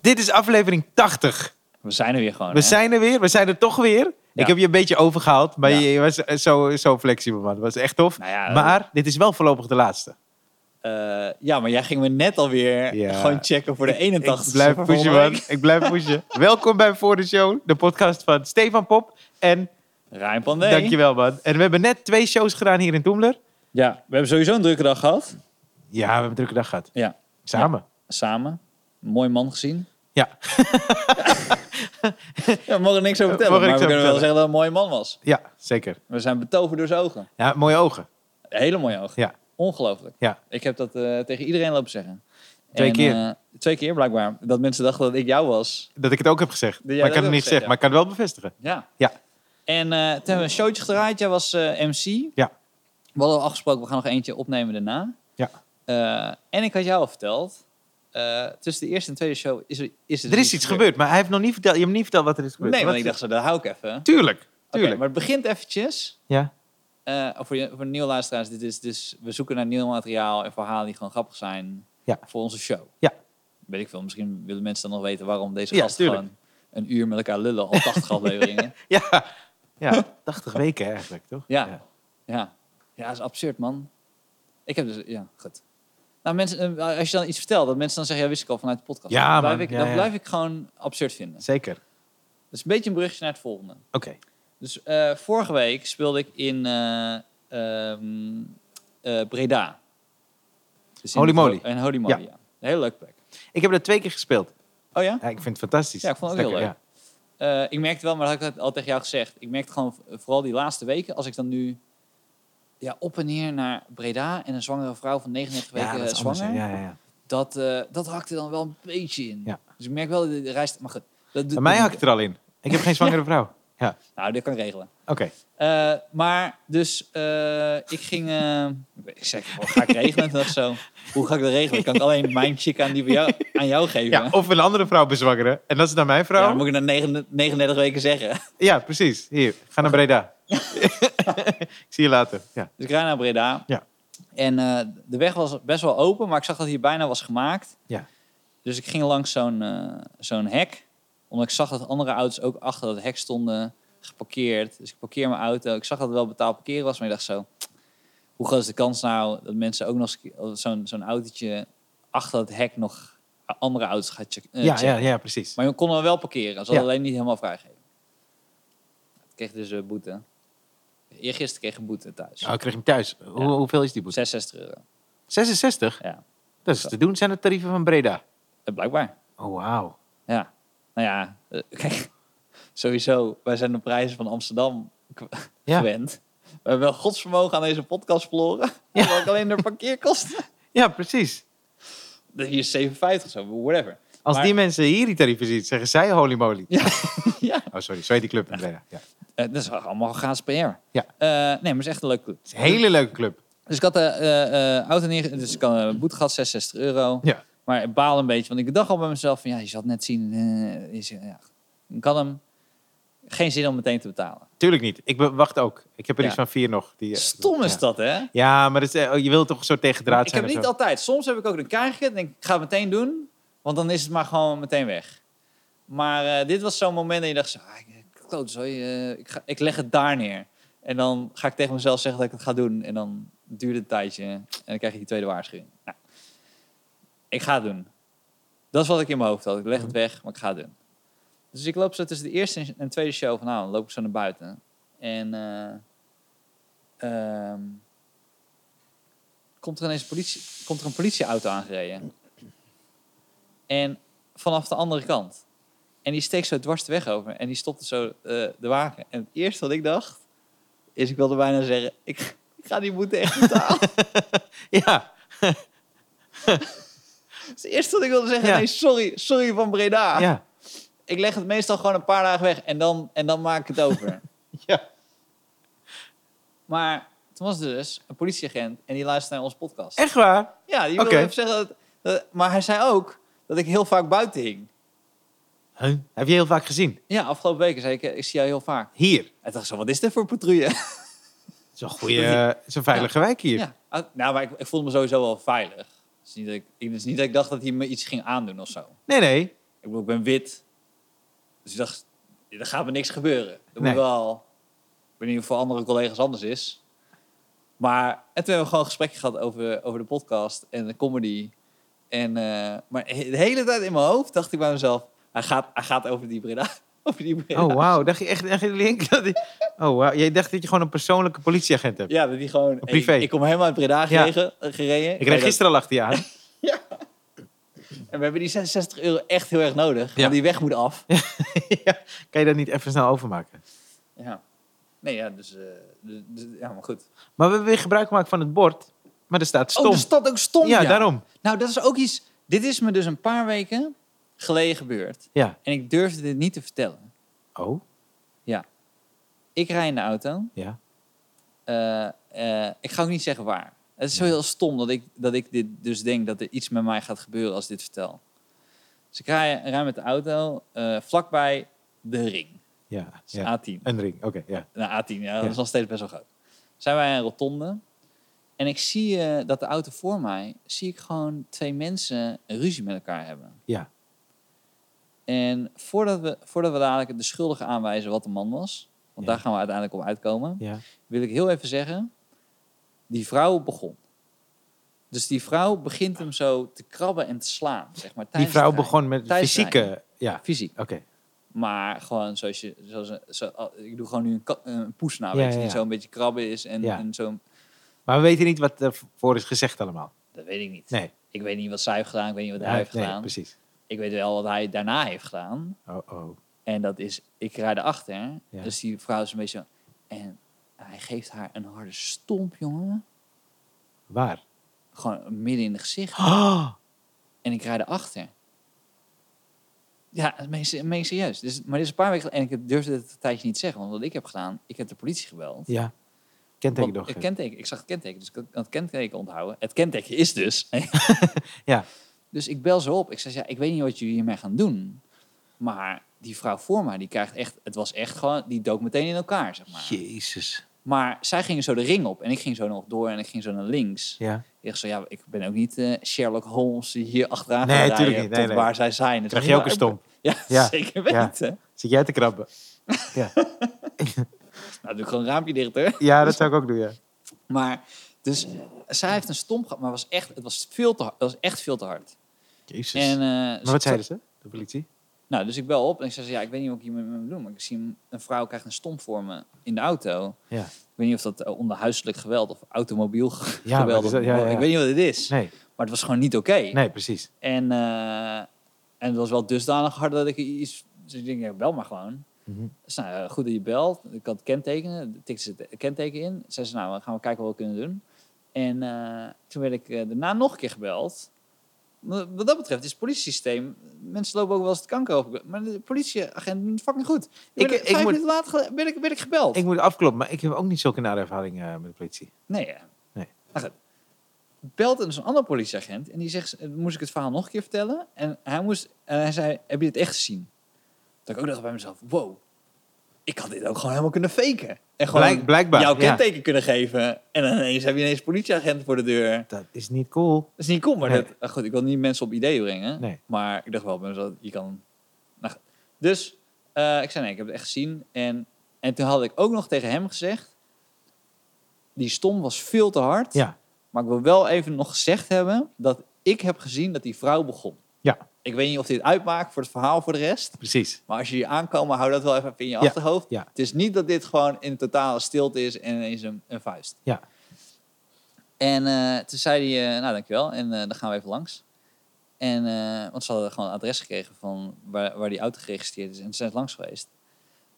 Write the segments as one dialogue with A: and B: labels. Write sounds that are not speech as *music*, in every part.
A: Dit is aflevering 80.
B: We zijn er weer gewoon.
A: We
B: hè?
A: zijn er weer. We zijn er toch weer. Ik heb je een beetje overgehaald, maar
B: Ja.
A: je was eh, zo, zo flexibel, man. Dat was echt tof.
B: Nou ja, eh,
A: maar dit is wel voorlopig de laatste.
B: Eh, ja, maar jij ging me net alweer
A: Ja.
B: gewoon checken voor de 81.
A: Ik blijf pushen, man. Ik blijf
B: *laughs*
A: pushen. Welkom bij Voor de Show, de podcast van Stefan Pop. En
B: Rijn Pandé.
A: dankjewel, man. En we hebben net twee shows gedaan hier in Doemler.
B: Ja, we hebben sowieso een drukke dag gehad.
A: Ja, we hebben een drukke dag gehad.
B: Ja,
A: Samen.
B: samen. Een mooi man gezien.
A: Ja.
B: *laughs* Ja, we mogen niks over
A: Mogen
B: vertellen, maar
A: niks over
B: we kunnen wel
A: vertellen.
B: zeggen dat hij een mooie man was.
A: Ja, zeker.
B: We zijn betoverd door zijn ogen.
A: Ja, mooie ogen.
B: Hele mooie ogen.
A: Ja.
B: Ongelooflijk.
A: Ja.
B: Ik heb dat eh, tegen iedereen lopen zeggen.
A: Twee
B: En,
A: keer.
B: eh, twee keer blijkbaar. Dat mensen dachten dat ik jou was.
A: Dat ik het ook heb gezegd. maar
B: jij
A: ik
B: dat
A: kan het
B: ook
A: niet
B: gezegd,
A: zeggen,
B: ja.
A: maar ik kan het wel bevestigen.
B: Ja.
A: Ja.
B: En eh, toen hebben we een showtje gedraaid. Jij was eh, MC.
A: Ja.
B: We hadden al afgesproken, we gaan nog eentje opnemen daarna.
A: Ja.
B: Eh, en ik had jou al verteld, eh, tussen de eerste en tweede show is er, is
A: Er is iets gebeurd, maar hij heeft nog niet verteld, je hebt niet verteld wat er is gebeurd.
B: Nee,
A: Wat
B: want ik
A: is-
B: dacht zo, dat hou ik even. Oké,
A: Tuurlijk, tuurlijk.
B: maar het begint eventjes.
A: Ja.
B: eh, voor, je, voor de nieuwe luisteraars, dit is dus, we zoeken naar nieuw materiaal en verhalen die gewoon grappig zijn
A: Ja.
B: voor onze show.
A: Ja.
B: Weet ik veel, misschien willen mensen dan nog weten waarom deze
A: Ja,
B: gast
A: tuurlijk.
B: gewoon een uur met elkaar lullen, al 80 afleveringen.
A: Ja. ja, 80 weken eigenlijk, toch?
B: Ja. Ja. ja, dat is absurd, man. Ik heb dus... Ja, goed. Nou, mensen, eh, als je dan iets vertelt, dat mensen dan zeggen... Ja, wist ik al vanuit de podcast.
A: Ja,
B: dat blijf,
A: man.
B: ik,
A: Ja,
B: dat
A: ja.
B: blijf ik gewoon absurd vinden. Dat
A: Zeker. Oké.
B: is een beetje een brugje naar het volgende. Dus eh, vorige week speelde ik in eh, ehm, eh, Breda. Dus in
A: Holy
B: het-
A: moly.
B: In Holy moly, ja.
A: Ja.
B: Een hele leuke plek.
A: Ik heb dat twee keer gespeeld.
B: Oh ja?
A: Ja, ik vind het fantastisch.
B: Ja, ik vond het
A: Dat
B: ook
A: is
B: heel Eh, ik merkte wel, maar dat had ik al tegen jou gezegd. Ik merkte gewoon v- vooral die laatste weken, als ik dan nu ja, op en neer naar Breda en een zwangere vrouw van 39
A: Ja, ja
B: weken
A: dat
B: eh,
A: is anders.
B: zwanger,
A: hè. Ja, ja, ja.
B: dat, eh dat hakte dan wel een beetje in.
A: Ja.
B: Dus ik merk wel, de, de reis... Maar goed. Dat,
A: Bij mij hakt het er al in. Ik heb geen zwangere vrouw.
B: Nou, dit kan ik regelen.
A: Oké.
B: Eh, maar dus, eh, ik ging... eh, ik zeg, hoe ga ik regelen? Toen dacht ik zo, hoe ga ik dat regelen? Kan ik alleen mijn chick aan, die bij jou, aan jou geven?
A: Ja, of een andere vrouw bezwangeren. En dat is dan mijn vrouw.
B: Ja,
A: Ja,
B: dan moet ik na 39 39 weken zeggen.
A: precies. Hier, ga naar Breda. *laughs* ik zie je later. Ja.
B: Dus ik rijd naar Breda.
A: Ja.
B: En eh, de weg was best wel open, maar ik zag dat hier bijna was gemaakt.
A: Ja.
B: Dus ik ging langs zo'n eh, zo'n hek. Omdat ik zag dat andere auto's ook achter dat hek stonden geparkeerd. Dus ik parkeer mijn auto. Ik zag dat het wel betaald parkeren was, maar ik dacht zo... Hoe groot is de kans nou dat mensen ook nog eens- zo'n zo'n autootje achter dat hek nog andere auto's gaat check- eh,
A: Ja,
B: checken?
A: ja, ja, precies.
B: Maar je kon er wel parkeren. Ze hadden
A: Ja.
B: alleen niet helemaal vrijgegeven. Ik kreeg dus een boete. Eergisteren kreeg ik een boete thuis.
A: Oh, ik kreeg hem thuis. Hoe,
B: Ja.
A: Hoeveel is die boete?
B: 66 euro.
A: 66?
B: Ja.
A: Dat is te doen, zijn de tarieven van Breda.
B: Eh, Blijkbaar.
A: Oh, wauw.
B: Ja. Nou ja, eh, *laughs* kijk, sowieso, wij zijn de prijzen van Amsterdam k-
A: Ja.
B: gewend. We hebben wel godsvermogen aan deze podcast verloren.
A: *laughs* Ja.
B: Ja. alleen
A: *laughs*
B: de parkeerkosten.
A: Ja, precies.
B: Hier is 57 zo, whatever.
A: *laughs* Als
B: Maar-
A: die mensen hier die tarieven zien, zeggen zij holy moly.
B: Ja. ja.
A: Oh, sorry. Zo heet die club in Breda. Ja. Het
B: Eh, dat is allemaal gratis PR. Ja.
A: Ja.
B: nee, maar het is echt een leuk club.
A: is een hele leuke club.
B: Dus ik had de eh, eh, auto neer... Dus ik had een boete gehad, 66 euro.
A: Ja.
B: Maar ik baal een beetje, want ik dacht al bij mezelf van... Ja, je zal het net zien. eh, is, ja. Ik had hem geen zin om meteen te betalen.
A: Tuurlijk niet. Ik be- wacht ook. Ik heb er
B: Ja.
A: iets van vier nog. Die, eh,
B: Stom is
A: ja.
B: dat, hè?
A: Ja, maar dat is, eh, oh, je wilt toch zo tegen draad
B: ik
A: zijn?
B: heb
A: of
B: niet
A: zo?
B: altijd. Soms heb ik ook, dan krijg ik het en denk ik, ik ga het meteen doen. Want dan is het maar gewoon meteen weg. Maar eh, dit was zo'n moment dat je dacht, zo, ah, ik- klootzooi, eh, ik, ga, ik leg het daar neer. En dan ga ik tegen mezelf zeggen dat ik het ga doen. En dan duurt het een tijdje en dan krijg je die tweede waarschuwing. Nou, ik ga het doen. Dat is wat ik in mijn hoofd had. Ik leg
A: Mhm.
B: het weg, maar ik ga het doen. Dus ik loop zo tussen de eerste en- en tweede show van nou, dan loop ik zo naar buiten. En eh, ehm, komt er ineens een politie, komt er een politieauto aangereden. En vanaf de andere kant. En die steekt zo dwars de weg over. En die stopte zo eh, de wagen. En het eerste wat ik dacht, is ik wilde bijna zeggen, ik, ik ga die boete
A: *laughs*
B: echt betalen.
A: Ja.
B: Dat is het eerste wat ik wilde zeggen,
A: Ja.
B: nee, sorry, sorry van Breda.
A: ja.
B: Ik leg het meestal gewoon een paar dagen weg en dan, en dan maak ik het
A: *laughs*
B: over.
A: Ja.
B: maar toen was er dus een politieagent en die luisterde naar onze podcast.
A: Echt waar?
B: Ja, die wilde
A: Eh, Oké.
B: even zeggen dat, dat- Maar hij zei ook dat ik heel vaak buiten hing.
A: Huh? Heb je heel vaak gezien?
B: Ja, afgelopen weken zei ik, eh, ik zie jou heel vaak.
A: Hier.
B: En dacht zo, wat is dit voor patrouille?
A: Het is een goede, eh, het is een veilige wijk hier.
B: Ja. ah, Nou, maar ik, ik voelde me sowieso wel veilig. Het is niet dat ik, ik- het is niet dat ik dacht dat hij me iets ging aandoen of zo.
A: Nee, nee.
B: Ik bedoel, ik ben wit. Dus ik dacht, er gaat me niks gebeuren. Dat
A: Nee.
B: moet wel... Ik weet niet of het voor andere collega's anders is. Maar en toen hebben we gewoon een gesprekje gehad over, over de podcast en de comedy. En, eh, maar he- de hele tijd in mijn hoofd dacht ik bij mezelf... Hij gaat, hij gaat over die Breda. *laughs* Over die Breda.
A: Oh, wauw. Dacht je echt, echt een link? *laughs* Dat die- Oh, wauw. Jij dacht dat je gewoon een persoonlijke politieagent hebt.
B: Ja, dat die gewoon... hey,
A: privé.
B: ik, kom helemaal uit Breda
A: Ja.
B: geregen, eh, gereden.
A: Ik reed gisteren al achter je
B: *laughs*
A: aan.
B: En we hebben die 66 euro echt heel erg nodig.
A: Ja.
B: Want die weg moet af.
A: Ja. Kan je dat niet even snel overmaken?
B: Ja. Nee, ja, dus, eh, dus- dus- ja, maar goed.
A: Maar we hebben weer gebruik gemaakt van het bord. Maar er staat stom.
B: Oh, er staat ook stom.
A: ja, daarom.
B: Nou, dat is ook iets. Dit is me dus een paar weken geleden gebeurd.
A: Ja.
B: En ik durfde dit niet te vertellen.
A: Oh,
B: Ik rij in de auto.
A: ja.
B: Eh, eh, ik ga ook niet zeggen waar. Het is zo heel stom dat ik, dat ik dit dus denk dat er iets met mij gaat gebeuren als ik dit vertel. Dus ik rij, rij met de auto eh, vlakbij de ring.
A: Ja.
B: Dus
A: ja.
B: A10.
A: Een ring. Oké, ja.
B: Nou, A10, ja, dat
A: Ja.
B: is nog steeds best wel groot. Zijn wij in een rotonde. En ik zie eh, dat de auto voor mij, zie ik gewoon twee mensen een ruzie met elkaar hebben.
A: Ja.
B: En voordat we, voordat we dadelijk de schuldige aanwijzen wat de man was, want
A: Ja.
B: daar gaan we uiteindelijk op uitkomen,
A: Ja.
B: wil ik heel even zeggen, die vrouw begon. Dus die vrouw begint hem zo te krabben en te slaan, zeg maar.
A: Die
B: tijdens
A: vrouw
B: het rijden.
A: begon met
B: Tijdens het
A: fysieke... Ja,
B: Fysiek.
A: oké.
B: Maar gewoon zoals je... Zoals, een- zo, al- ik doe gewoon nu een, ka- een poes na,
A: Ja,
B: weet je,
A: ja,
B: die
A: ja.
B: zo'n beetje krabben is en,
A: Ja.
B: en zo'n...
A: Maar we weten niet wat ervoor is gezegd allemaal.
B: Dat weet ik niet.
A: Nee.
B: Ik weet niet wat zij heeft gedaan, ik weet niet wat hij
A: Nee,
B: heeft
A: nee,
B: gedaan.
A: precies.
B: Ik weet wel wat hij daarna heeft gedaan.
A: Oh, oh.
B: En dat is, ik rijd erachter.
A: Ja.
B: Dus die vrouw is een beetje zo... En hij geeft haar een harde stomp, jongen.
A: Waar?
B: Gewoon midden in het gezicht.
A: Oh,
B: En ik rijd erachter. Ja, meen je- meen je serieus. Dus, maar dit is een paar weken... En ik durfde het een tijdje niet te zeggen. Want wat ik heb gedaan, ik heb de politie
A: *gasps*
B: gebeld.
A: ja. Kenteken
B: Want
A: doorgeven.
B: het kenteken, ik zag het kenteken, dus ik kan het kenteken onthouden. Het kenteken is dus. *laughs*
A: Ja.
B: Dus ik bel ze op. Ik zeg, ja, ik weet niet wat jullie hiermee gaan doen. Maar die vrouw voor mij, die krijgt echt... Het was echt gewoon... Die dook meteen in elkaar, zeg maar.
A: Jezus.
B: Maar zij gingen zo de ring op. En ik ging zo nog door en ik ging zo naar links.
A: Ja.
B: Ik dacht zo, ja, ik ben ook niet eh, Sherlock Holmes die hier achteraan
A: Nee,
B: gaat rijden
A: tuurlijk niet. Nee,
B: tot
A: nee.
B: waar zij zijn. Het
A: Krijg
B: was
A: je ook een
B: heel
A: stomp.
B: erg- Ja,
A: Ja,
B: *laughs* zeker
A: ja.
B: weten.
A: Zit jij te krabben? Ja,
B: Nou, doe ik gewoon een raampje dicht, hoor.
A: ja dat zou ik ook doen, ja.
B: Maar, dus, eh, zij heeft een stomp gehad, maar was echt, het was veel te, hard- het was echt veel te hard.
A: Jezus.
B: En, eh,
A: maar
B: dus
A: wat
B: ik-
A: zeiden ze, de politie?
B: Nou, dus ik bel op en ik zeg, ja, ik weet niet wat ik hiermee moet doen. Maar ik zie een- een vrouw krijgt een stomp voor me in de auto.
A: Ja.
B: Ik weet niet of dat eh, onder huiselijk geweld of automobiel ge-
A: Ja, maar
B: geweld...
A: het is-
B: of-
A: ja, ja, ja.
B: Ik weet niet wat het is.
A: Nee,
B: Maar het was gewoon niet oké.
A: nee, precies.
B: En, eh, en het was wel dusdanig hard dat ik iets... Dus ik denk, ja, bel maar gewoon.
A: Mhm.
B: Dus nou, eh, goed dat je belt. Ik kan het kentekenen. Tikte ze het kenteken in. Zei ze, nou, dan gaan we kijken wat we kunnen doen. En eh, toen werd ik eh, daarna nog een keer gebeld. Wat wat dat betreft is het politiesysteem... Mensen lopen ook wel eens het kanker over. Maar de politieagent doet het fucking goed. Ik,
A: Ik-
B: ben,
A: ik
B: vijf
A: moet-
B: minuten later gele- ben ik, ben ik gebeld.
A: Ik moet afkloppen, maar ik heb ook niet zulke nare ervaringen eh, met de politie.
B: Nee, ja.
A: Nee.
B: Nou goed. Belt dus een ander politieagent en die zegt, eh, moest ik het verhaal nog een keer vertellen? En hij, moest, en hij zei, heb je dit echt gezien? Dat ik ook dacht bij mezelf, wow, ik had dit ook gewoon helemaal kunnen faken. En gewoon
A: Blijk- blijkbaar,
B: jouw
A: ja.
B: kenteken kunnen geven. En dan ineens heb je ineens politieagent voor de deur. Dat
A: Dat is niet cool.
B: is niet cool, maar
A: Nee.
B: dat, ah, goed, ik wil niet mensen op ideeën brengen.
A: Nee.
B: Maar ik dacht wel bij mezelf, je kan... Nou goed. dus eh, ik zei, nee, ik heb het echt gezien. En, en toen had ik ook nog tegen hem gezegd, die stom was veel te hard.
A: Ja,
B: Maar ik wil wel even nog gezegd hebben dat ik heb gezien dat die vrouw begon.
A: Ja.
B: Ik weet niet of dit uitmaakt voor het verhaal voor de rest.
A: precies.
B: Maar als je hier aankomen, hou dat wel even in je
A: Ja,
B: achterhoofd.
A: ja.
B: Het is niet dat dit gewoon in totale stilte is en ineens een, een vuist.
A: Ja.
B: En eh, toen zei hij, eh nou dankjewel, en eh, dan gaan we even langs. En, eh, want ze hadden gewoon een adres gekregen van waar, waar die auto geregistreerd is. En ze zijn langs geweest.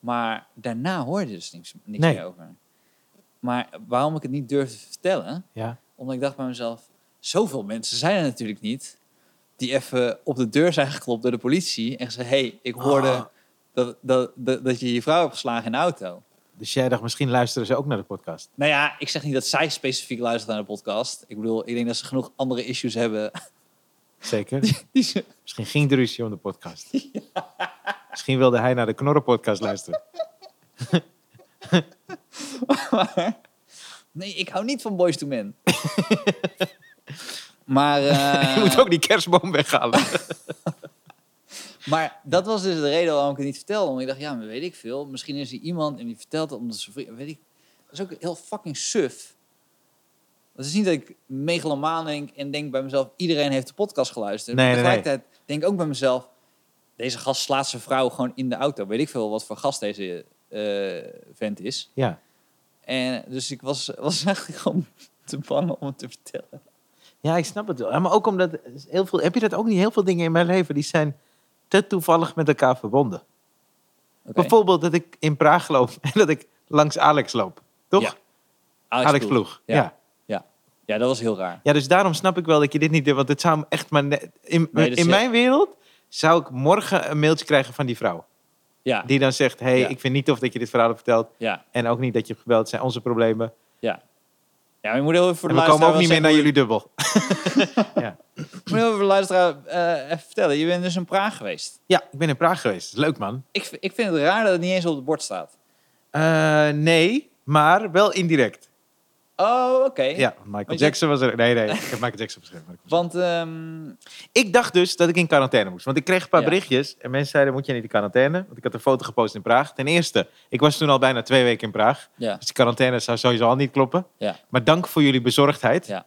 B: Maar daarna hoorde je dus niks, niks
A: Nee.
B: meer over. Maar waarom ik het niet durfde te vertellen,
A: Ja,
B: omdat ik dacht bij mezelf, zoveel mensen zijn er natuurlijk niet. Die even op de deur zijn geklopt door de politie. En gezegd, hey, ik hoorde
A: Ah.
B: dat, dat, dat, dat je je vrouw hebt geslagen in de auto.
A: dus jij dacht, misschien luisteren ze ook naar de podcast.
B: Nou ja, ik zeg niet dat zij specifiek luistert naar de podcast. Ik bedoel, ik denk dat ze genoeg andere issues hebben. *laughs*
A: Zeker.
B: Die ze-
A: Misschien ging de ruzie om de
B: *laughs*
A: podcast. Misschien wilde hij naar de Knorren-podcast luisteren.
B: Nee, ik hou niet van Boys to Men. eh, maar, eh, *laughs*
A: Je moet ook die kerstboom weghalen.
B: Maar dat was dus de reden waarom ik het niet vertelde. Omdat ik dacht, ja, maar weet ik veel. Misschien is er iemand en die vertelt het omdat ze vriend... Weet ik. Dat is ook heel fucking suf. Het is niet dat ik megalomaan denk en denk bij mezelf... iedereen heeft de podcast geluisterd.
A: Nee,
B: maar
A: nee, nee.
B: tegelijkertijd denk ik ook bij mezelf... deze gast slaat zijn vrouw gewoon in de auto. Weet ik veel wat voor gast deze eh, vent is.
A: Ja.
B: En dus ik was, was *laughs* eigenlijk gewoon te bang om het te vertellen.
A: ja, ik snap het wel. Ja, maar ook omdat heel veel. Heb je dat ook niet? Heel veel dingen in mijn leven die zijn te toevallig met elkaar verbonden.
B: Oké.
A: Bijvoorbeeld dat ik in Praag loop *laughs* en dat ik langs Alex loop. Toch?
B: Ja,
A: Alex, Ploeg. Ja. Ja.
B: Ja. Ja, dat was heel raar.
A: dus daarom snap ik wel dat je dit niet doet. Want het zou echt maar net- in,
B: Nee, dat
A: in
B: is-
A: mijn wereld zou ik morgen een mailtje krijgen van die vrouw.
B: Ja,
A: Die dan zegt, hey,
B: Ja.
A: ik vind niet tof dat je dit verhaal hebt verteld.
B: ja.
A: En ook niet dat je hebt gebeld, het zijn onze problemen.
B: Ja, maar je moet heel even voor de
A: En we komen
B: luisteraar
A: ook niet meer
B: wel
A: naar
B: zeggen
A: jullie dubbel.
B: hoe- Moet je heel even voor de luisteraar eh, even vertellen. Je bent dus in Praag geweest.
A: Ja, ik ben in Praag geweest. Leuk man.
B: Ik, v- ik vind het raar dat het niet eens op het bord staat.
A: Eh, nee, maar wel indirect.
B: Oh, oké.
A: Ja, Michael
B: je-
A: Jackson was er. Nee, nee, ik heb Michael Jackson beschreven. maar ik-
B: Want, ehm,
A: Ik dacht dus dat ik in quarantaine moest. Want ik kreeg een paar
B: Ja.
A: berichtjes. En mensen zeiden, moet je niet in quarantaine? Want ik had een foto gepost in Praag. Ten eerste, ik was toen al bijna twee weken in Praag.
B: ja,
A: Dus die quarantaine zou sowieso al niet kloppen.
B: Ja.
A: Maar dank voor jullie bezorgdheid.
B: Ja.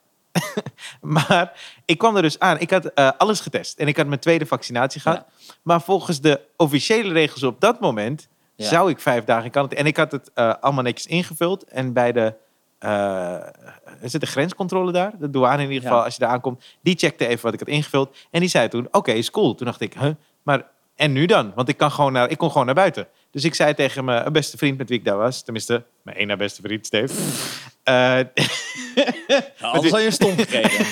A: *laughs* maar ik kwam er dus aan. Ik had eh, alles getest. En ik had mijn tweede vaccinatie gehad. Maar volgens de officiële regels op dat moment...
B: Ja.
A: zou ik vijf dagen in quarantaine... En ik had het eh, allemaal netjes ingevuld. En bij de... eh, is het de grenscontrole daar? De douane in ieder
B: Ja.
A: geval, als je daar aankomt. Die checkte even wat ik had ingevuld. En die zei toen, oké, is cool. Toen dacht ik, huh, maar en nu dan? Want ik, kan gewoon naar, ik kon gewoon naar buiten. Dus ik zei tegen mijn beste vriend met wie ik daar was. Tenminste, mijn ene beste vriend, Steve. Eh, *laughs*
B: Ja, anders had je een stom gekregen.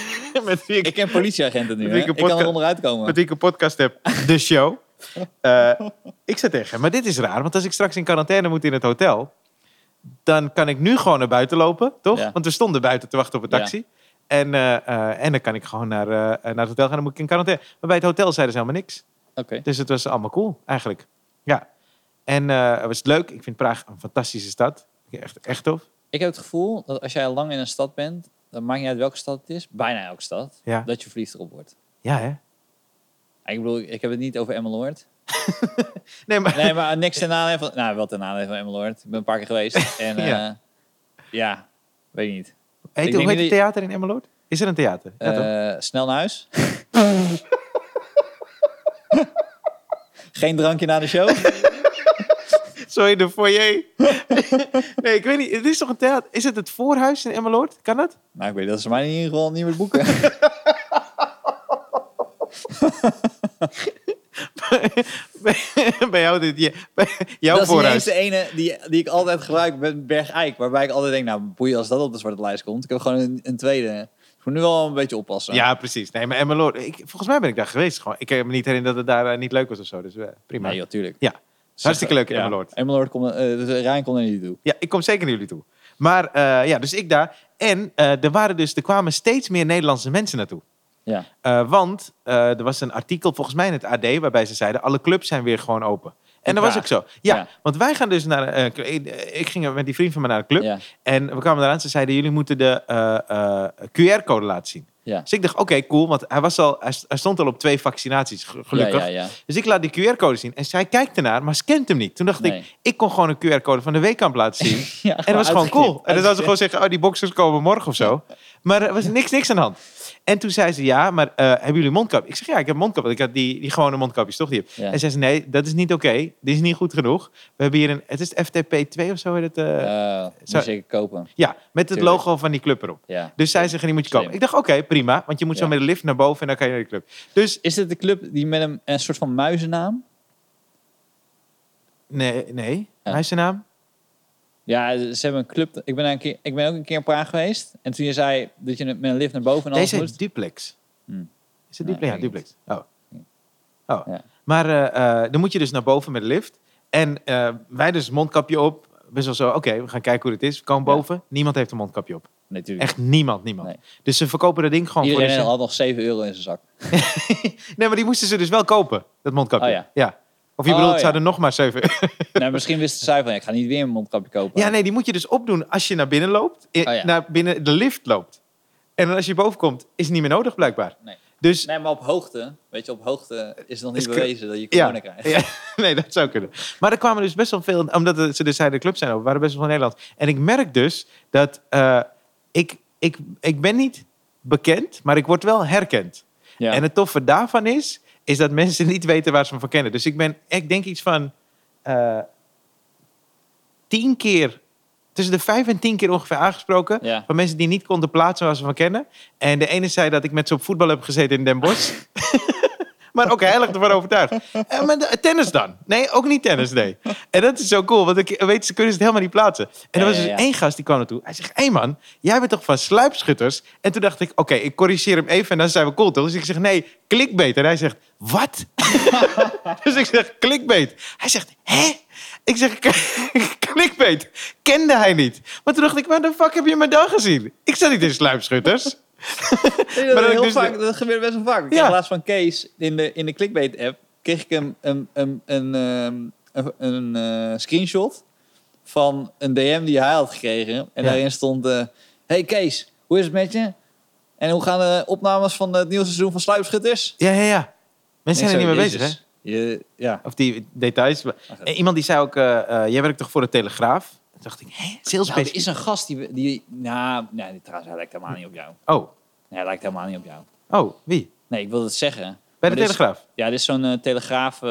A: met wie ik
B: ik ken politieagenten nu,
A: Ik
B: hè.
A: denk een
B: Ik kan er
A: podcast-
B: onderuit komen.
A: met wie ik een podcast heb, de show. *laughs* Eh, ik zei tegen hem, maar dit is raar, want als ik straks in quarantaine moet in het hotel, dan kan ik nu gewoon naar buiten lopen, toch?
B: Ja.
A: Want we stonden buiten te wachten op een
B: Ja.
A: taxi. En, eh, eh, en dan kan ik gewoon naar, eh, naar het hotel gaan, dan moet ik in quarantaine. Maar bij het hotel zeiden ze helemaal niks.
B: Oké.
A: Dus het was allemaal cool, eigenlijk. Ja. En eh, het was leuk. Ik vind Praag een fantastische stad. Echt, echt tof.
B: Ik heb het gevoel dat als jij lang in een stad bent, dan maakt niet uit welke stad het is, bijna elke stad,
A: Ja.
B: dat je verliefd erop wordt.
A: Ja, hè?
B: Ik bedoel, ik heb het niet over Emmeloord.
A: Nee, maar...
B: Nee, maar niks ten aanleiding van... Nou, wel ten aanleiding van Emmeloord. Ik ben een paar keer
A: *laughs*
B: geweest. En eh,
A: Ja.
B: ja. weet ik niet.
A: *laughs* Heet- hoe
B: Ik denk
A: heet het
B: niet-
A: theater in Emmeloord? Is er een theater? Ja, toch?
B: Eh, snel naar
A: *laughs*
B: huis. Geen drankje na de show?
A: Sorry, de foyer. *laughs* nee, ik weet niet. Het is toch een theater? Is het het voorhuis in Emmeloord? Kan dat? *laughs*
B: nou, ik weet dat ze mij in ieder geval niet meer boeken.
A: bij jou, dit, je, bij jouw
B: dat is niet eens
A: voorhuis.
B: de ene die, die ik altijd gebruik met Berg Eik. Waarbij ik altijd denk, nou boeien als dat op de zwarte lijst komt. Ik heb gewoon een, een tweede. Ik moet nu wel een beetje oppassen.
A: Ja, precies. Nee, maar Emmeloord. Ik, volgens mij ben ik daar geweest. Gewoon. Ik kan me niet herinneren dat het daar eh, niet leuk was of zo. Dus eh, prima.
B: Nee, joh, tuurlijk. Dus,
A: Ja. Hartstikke leuk in
B: Ja,
A: Emmeloord.
B: Emmeloord komt... eh, dus Rijn komt er niet toe.
A: Ja, ik kom zeker naar jullie toe. Maar eh, ja, dus ik daar. En eh, er, waren dus, er kwamen steeds meer Nederlandse mensen naartoe.
B: Ja.
A: Eh, want eh, er was een artikel volgens mij in het AD waarbij ze zeiden: alle clubs zijn weer gewoon open. En dat was ook
B: Praag.
A: zo. Ja,
B: Ja.
A: want wij gaan dus naar. eh, ik- ik ging met die vriend van mij naar een club.
B: Ja.
A: En we kwamen eraan. Ze zeiden: jullie moeten de eh, eh, QR-code laten zien.
B: Ja.
A: Dus ik dacht: oké, cool. Want hij, was al, hij st- hij stond al op twee vaccinaties, ge- gelukkig.
B: Ja, ja, ja.
A: Dus ik laat die QR-code zien. En zij kijkt ernaar, maar scant hem niet. Toen dacht
B: Nee.
A: ik: ik kon gewoon een QR-code van de Weekamp laten
B: *laughs*
A: zien.
B: Ja,
A: En dat was gewoon
B: uitgeknipt.
A: cool. En dan zou ze gewoon zeggen, oh, die boxers komen morgen of zo. Maar er was niks, niks aan de hand. En toen zei ze, ja, maar eh, hebben jullie mondkap? Ik zeg, ja, ik heb mondkap. Want ik had die, die gewone mondkapjes, toch? Die heb.
B: Ja.
A: En zei ze, nee, dat is niet oké. Dit is niet goed genoeg. We hebben hier een, het is FTP2 of zo heet het. eh,
B: Eh,
A: zo-
B: moest ik kopen.
A: ja, met het
B: tuurlijk.
A: logo van die club erop.
B: Ja.
A: Dus zij zeggen, die moet je komen.
B: Slim.
A: Ik dacht, oké, prima. Want je moet zo
B: Ja.
A: met de lift naar boven en dan kan je naar de club. Dus,
B: Is dit de club die met een, een soort van muizennaam?
A: nee, nee.
B: Ja.
A: Hij is zijn naam?
B: Ja, ze hebben een club. Ik ben, daar een keer, ik ben ook een keer in Praag geweest. En toen je zei dat je met een lift naar boven en alles
A: Deze heet
B: moest.
A: duplex.
B: Hm.
A: Is het
B: Nee,
A: duplex? Ja,
B: weet ik niet.
A: duplex. Oh. oh.
B: Ja.
A: Maar eh, eh, dan moet je dus naar boven met de lift. En eh, wij dus mondkapje op. Best wel zo, oké, we gaan kijken hoe dit is. We komen
B: Ja.
A: boven. Niemand heeft een mondkapje op.
B: Nee, natuurlijk.
A: Echt niemand, niemand.
B: Nee.
A: Dus ze verkopen dat ding gewoon
B: Iedereen
A: voor de...
B: had nog 7 euro in zijn zak.
A: Nee, maar die moesten ze dus wel kopen, dat mondkapje.
B: Oh, ja.
A: Of je
B: Oh,
A: bedoelt, ze
B: ja.
A: hadden nog maar zeven *laughs*
B: nou, misschien wisten zij van, ja, ik ga niet weer een mondkapje kopen.
A: Ja, nee, die moet je dus opdoen als je naar binnen loopt. eh, i-
B: Oh, ja.
A: Naar binnen de lift loopt. En dan als je boven komt, is het niet meer nodig blijkbaar.
B: Nee.
A: Dus
B: Nee, maar op hoogte, weet je, op hoogte is nog niet
A: Is cr-
B: bewezen dat je
A: Ja.
B: corona krijgt.
A: Ja, *laughs* nee, dat zou kunnen. Maar er kwamen dus best wel veel, omdat het- ze dus zeiden de club zijn over, waren best wel van Nederland. En ik merk dus dat eh, ik, ik, ik ben niet bekend, maar ik word wel herkend.
B: Ja.
A: En het toffe daarvan is, is dat mensen niet weten waar ze me van kennen. Dus ik ben, ik denk iets van eh, tien keer, tussen de vijf en tien keer ongeveer aangesproken.
B: Ja.
A: Van mensen die niet konden plaatsen waar ze van kennen. En de ene zei dat ik met ze op voetbal heb gezeten in Den Bosch. maar ook heilig ervan overtuigd. Eh, maar de- tennis dan? Nee, ook niet tennis, nee. En dat is zo cool, want ik weet, ze kunnen het helemaal niet plaatsen. En er
B: Ja,
A: was
B: ja,
A: dus
B: ja.
A: één gast die kwam naartoe. Hij zegt, hé man, jij bent toch van sluipschutters? En toen dacht ik, oké, ik corrigeer hem even en dan zijn we cool, toch? Dus ik zeg, nee, clickbait. En hij zegt, wat? *laughs* dus ik zeg, clickbait. Hij zegt, hè? Ik zeg, *laughs* clickbait. Kende hij niet. Maar toen dacht ik, waar de fuck heb je me dan gezien? Ik zat niet in sluipschutters.
B: Nee, dat,
A: Maar dat
B: heel
A: ik dus
B: vaak,
A: de-
B: dat gebeurt best wel vaak. Ik kreeg
A: Ja.
B: laatst van Kees in de, in de clickbait-app kreeg ik een, een, een, een, ehm, een, een, eh, screenshot van een DM die hij had gekregen. En
A: Ja.
B: daarin stond: eh, Hey Kees, hoe is het met je? En hoe gaan de opnames van het nieuwe seizoen van Sluipschutters?
A: Ja, ja, ja. Mensen zijn er niet mee bezig, hè?
B: Je, ja.
A: Of die details. En iemand die zei ook, eh, eh, jij werkt toch voor de Telegraaf? Toen dacht ik, hè?
B: Nou,
A: Salespace?
B: er is een gast die... die nou, nee, trouwens, hij lijkt helemaal niet op jou.
A: Oh,
B: Nee, hij lijkt helemaal niet op jou.
A: oh, wie?
B: Nee, ik wilde het zeggen.
A: Bij
B: Maar
A: de
B: dit is-
A: Telegraaf?
B: Ja, dit is zo'n eh, telegraaf. eh,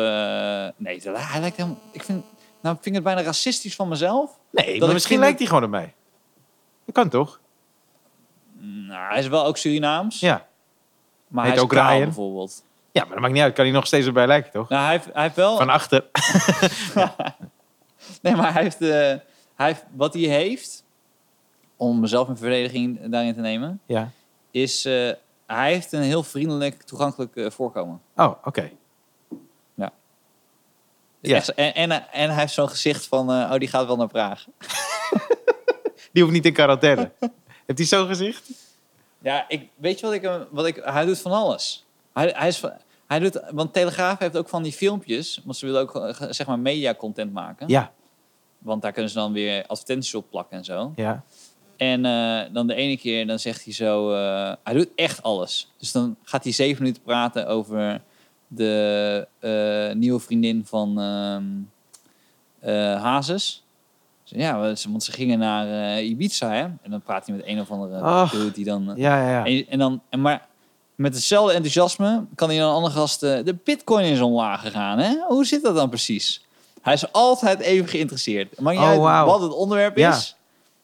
B: nee, dat- hij lijkt hem. Ik vind, nou, vind ik het bijna racistisch van mezelf.
A: Nee,
B: ik
A: maar misschien
B: vind
A: lijkt hij gewoon op mij. Dat kan toch?
B: Nou, hij is wel ook Surinaams.
A: Ja.
B: maar
A: heet
B: hij is
A: ook
B: kaal
A: Ryan.
B: bijvoorbeeld.
A: Ja, maar dat maakt niet uit. Kan hij nog steeds erbij lijken, toch?
B: Nou, hij heeft, hij heeft wel.
A: Van achter.
B: Nee, maar hij heeft, eh, hij heeft. Wat hij heeft. Om mezelf in verdediging daarin te nemen.
A: Ja.
B: Is. eh, hij heeft een heel vriendelijk, toegankelijk eh, voorkomen.
A: Oh, oké. Ja.
B: Echt zo- en, en, en hij heeft zo'n gezicht van. eh, oh, die gaat wel naar Praag.
A: Die hoeft niet in quarantaine. Heeft hij zo'n gezicht?
B: Ja, ik, weet je wat ik, hem- wat ik... Hij doet van alles. Hij, hij is van, hij doet, want Telegraaf heeft ook van die filmpjes. Want ze willen ook eh, zeg maar media content maken.
A: Ja.
B: Want daar kunnen ze dan weer advertenties op plakken en zo.
A: Ja.
B: En eh, dan de ene keer dan zegt hij zo... eh, hij doet echt alles. Dus dan gaat hij zeven minuten praten over de eh, nieuwe vriendin van ehm eh, Hazes. Dus Ja, want ze- want ze gingen naar eh, Ibiza, hè? En dan praat hij met een of andere
A: Ach.
B: dude die dan... eh,
A: Ja, ja, ja.
B: en, en dan, en maar met hetzelfde enthousiasme kan hij dan andere gasten... De bitcoin is omlaag gegaan, hè? Hoe zit dat dan precies? Hij is altijd even geïnteresseerd. Maar niet
A: Oh,
B: uit
A: wauw.
B: wat het onderwerp
A: Ja.
B: is.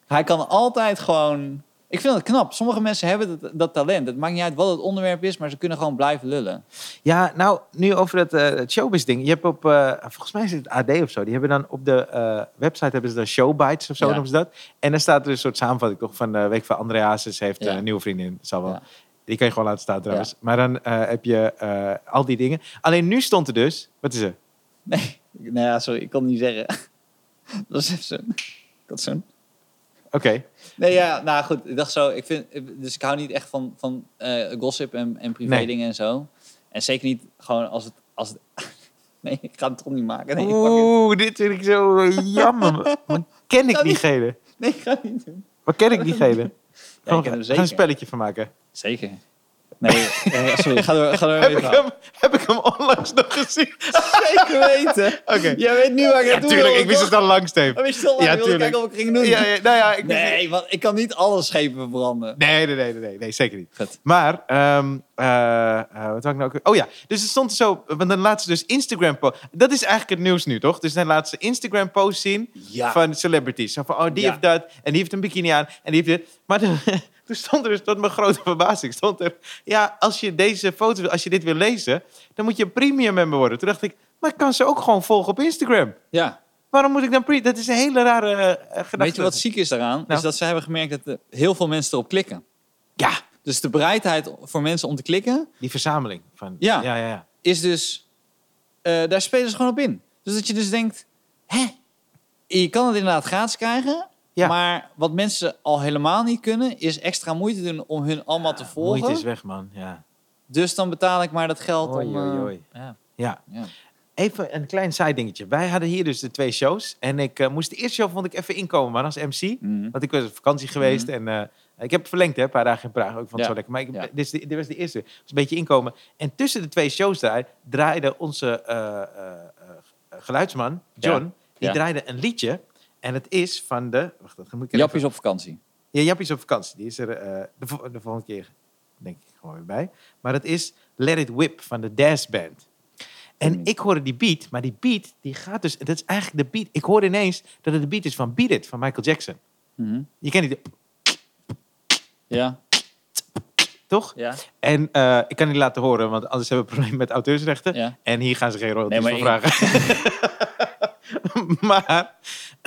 B: Hij kan altijd gewoon... Ik vind het knap. Sommige mensen hebben dat, dat talent. Het maakt niet uit wat het onderwerp is, maar ze kunnen gewoon blijven lullen.
A: Ja, nou, nu over dat eh, het showbiz-ding. Je hebt op, eh, volgens mij is het AD of zo. Die hebben dan op de eh, website hebben ze dan showbites of zo
B: Ja.
A: noemen ze dat. En dan staat er een soort samenvatting toch van eh week van André Hazes heeft
B: Ja.
A: eh, een nieuwe vriendin. Zal wel.
B: Ja.
A: Die kan je gewoon laten staan trouwens. Maar dan eh, heb je eh, al die dingen. Alleen nu stond er dus, wat is er?
B: Nee, nou ja, sorry. Ik kon het niet zeggen. *laughs* Dat was even zo'n... Ik had zo'n...
A: Oké.
B: Nee, ja, nou goed, ik dacht zo, ik vind, dus ik hou niet echt van, van eh, gossip en, en privé
A: Nee.
B: dingen en zo. En zeker niet gewoon als het, als het, *laughs* nee, ik ga het toch niet maken. Nee, fuck
A: Oeh, dit vind ik zo eh, jammer. Maar ken ik die
B: Kan niet.
A: gele?
B: it. nee, ik ga het niet doen.
A: Waar ken ik die gele?
B: Ja, ik
A: Gewoon
B: ken hem
A: gaan een
B: zeker.
A: spelletje van maken.
B: Zeker. Nee,
A: *laughs*
B: eh, sorry, ga door, ga door.
A: Heb
B: met
A: ik,
B: je
A: hem, *laughs* heb ik hem onlangs nog gezien?
B: verhaal. *laughs* Zeker
A: *laughs*
B: weten.
A: Oké.
B: Jij weet nu waar ik
A: Ja,
B: naartoe
A: tuurlijk.
B: wil,
A: Ik wist
B: toch?
A: het al lang, Steve.
B: Ik wist het al,
A: Ja,
B: ja, ik wilde
A: tuurlijk.
B: kijken wat ik ging doen.
A: Ja, ja, nou ja, ik
B: Nee, want ik kan niet alle schepen verbranden.
A: Nee, nee, nee, nee, nee, nee, zeker niet.
B: Goed.
A: Maar, ehm, eh, eh, wat had ik nou ook... Oh ja, dus het stond zo... Want dan laten ze dus Instagram... po- Dat is eigenlijk het nieuws nu, toch? Dus dan laten ze Instagram posts zien
B: Ja.
A: van celebrities. Zo van, oh, die
B: Ja.
A: heeft dat. En die heeft een bikini aan. En die heeft dit. Maar toen, *laughs* toen stond er dus, tot mijn grote verbazing, stond er... Ja, als je deze foto, als je dit wil lezen... dan moet je een premium member worden. Toen dacht ik, maar ik kan ze ook gewoon volgen op Instagram.
B: Ja.
A: Waarom moet ik dan... Pre dat is een hele rare eh, eh, gedachte.
B: Weet je wat ziek is daaraan?
A: Nou.
B: Is dat ze hebben gemerkt dat eh, heel veel mensen erop klikken.
A: Ja,
B: Dus de bereidheid voor mensen om te klikken
A: die verzameling. Van,
B: Ja.
A: ja, ja. ja.
B: is dus. eh, daar spelen ze gewoon op in. Dus dat je dus denkt: hè? Je kan het inderdaad gratis krijgen.
A: Ja.
B: Maar wat mensen al helemaal niet kunnen, is extra moeite doen om hun allemaal te volgen.
A: Moeite is weg, man. Ja.
B: Dus dan betaal ik maar dat geld
A: Oei,
B: om.
A: oei,
B: eh,
A: oei.
B: Ja.
A: Ja.
B: Ja.
A: Even een klein side dingetje. Wij hadden hier dus de twee shows. En ik eh, moest de eerste show vond ik even inkomen, maar als MC.
B: Mhm.
A: Want ik was op vakantie geweest en eh, ik heb het verlengd, hè, een paar dagen in Praag. ook, Ik vond het
B: Ja,
A: zo lekker. Maar ik,
B: ja.
A: dit, is de- dit was de eerste. Het was een beetje inkomen. En tussen de twee shows daar draaide onze eh, eh, eh, geluidsman, John, die
B: ja.
A: draaide een liedje. En het is van de... Wacht, dat moet ik even-
B: Jappies op vakantie.
A: ja, Jappie is op vakantie. Die is er eh, de, vol- de volgende keer, denk ik, gewoon weer bij. Maar het is Let It Whip van de Dash Band. En
B: Hmm.
A: ik hoorde die beat, maar die beat, die gaat dus... Dat is eigenlijk de beat. Ik hoorde ineens dat het de beat is van Beat It, van Michael Jackson.
B: Mhm.
A: Je kent die,
B: Ja,
A: toch?
B: ja.
A: En eh, ik kan die laten horen, want anders hebben we problemen met auteursrechten.
B: ja.
A: En hier gaan ze geen royalties
B: Nee,
A: voor
B: maar
A: vragen. *laughs* maar,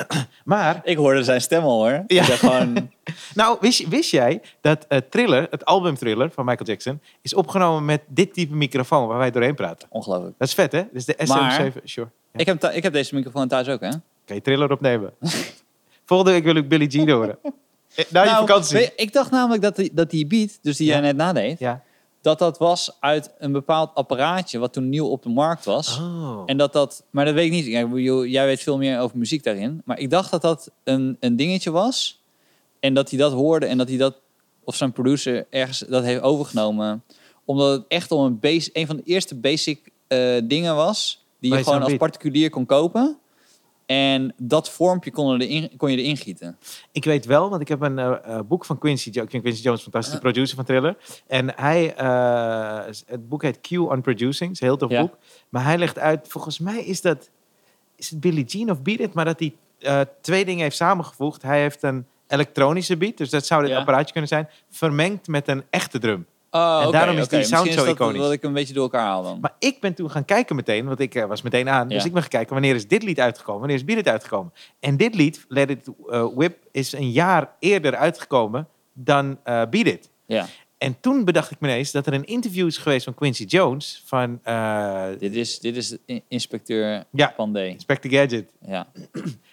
A: *clears throat* maar,
B: Ik hoorde zijn stem al hoor.
A: Ja.
B: Ik dacht gewoon, *laughs*
A: nou, wist, wist jij dat eh, Thriller, het album Thriller van Michael Jackson, is opgenomen met dit type microfoon waar wij doorheen praten?
B: ongelooflijk.
A: Dat is vet, hè? Dus de SM7.
B: Maar-
A: Sure.
B: Ik heb, thu- ik heb deze microfoon thuis ook, hè?
A: Kan je thriller opnemen? *laughs* Volgende week wil ik Billie Jean horen. Eh, Na je
B: Nou,
A: vakantie.
B: weet- ik dacht namelijk dat die, dat die beat, dus die
A: Ja.
B: jij net nadeed,
A: Ja.
B: dat dat was uit een bepaald apparaatje wat toen nieuw op de markt was.
A: Oh.
B: En dat dat, maar dat weet ik niet. Ja, ik bedoel, jij weet veel meer over muziek daarin. Maar ik dacht dat dat een, een dingetje was. En dat hij dat hoorde en dat hij dat, of zijn producer ergens dat heeft overgenomen. Omdat het echt om een, base, een van de eerste basic eh, dingen was. Die
A: Waar
B: je
A: je
B: gewoon
A: zo'n
B: als
A: beat-
B: particulier kon kopen. En dat vormpje kon, erin, kon je erin gieten.
A: Ik weet wel, want ik heb een eh, eh, boek van Quincy Jones. Ik vind Quincy Jones een fantastische producer van Thriller. En hij, eh, het boek heet Q on Producing. Het is een heel tof
B: Ja.
A: boek. Maar hij legt uit, volgens mij is dat, is het Billie Jean of Beat It? Maar dat hij eh, twee dingen heeft samengevoegd. Hij heeft een elektronische beat, dus dat zou dit
B: Ja.
A: apparaatje kunnen zijn, vermengd met een echte drum.
B: Oh,
A: En
B: oké,
A: daarom is
B: oké.
A: die sound
B: Misschien
A: zo
B: dat
A: iconisch.
B: Dat ik een beetje door elkaar haal dan.
A: Maar ik ben toen gaan kijken meteen, want ik eh, was meteen aan. Dus
B: Ja.
A: ik ben gaan kijken, wanneer is dit lied uitgekomen? Wanneer is Beat It uitgekomen? En dit lied, Let It eh, Whip, is een jaar eerder uitgekomen dan eh Beat It.
B: ja,
A: En toen bedacht ik me ineens dat er een interview is geweest van Quincy Jones van eh
B: dit is, dit is in- inspecteur
A: Ja.
B: Pandey.
A: Inspector Gadget.
B: Oh, Ja.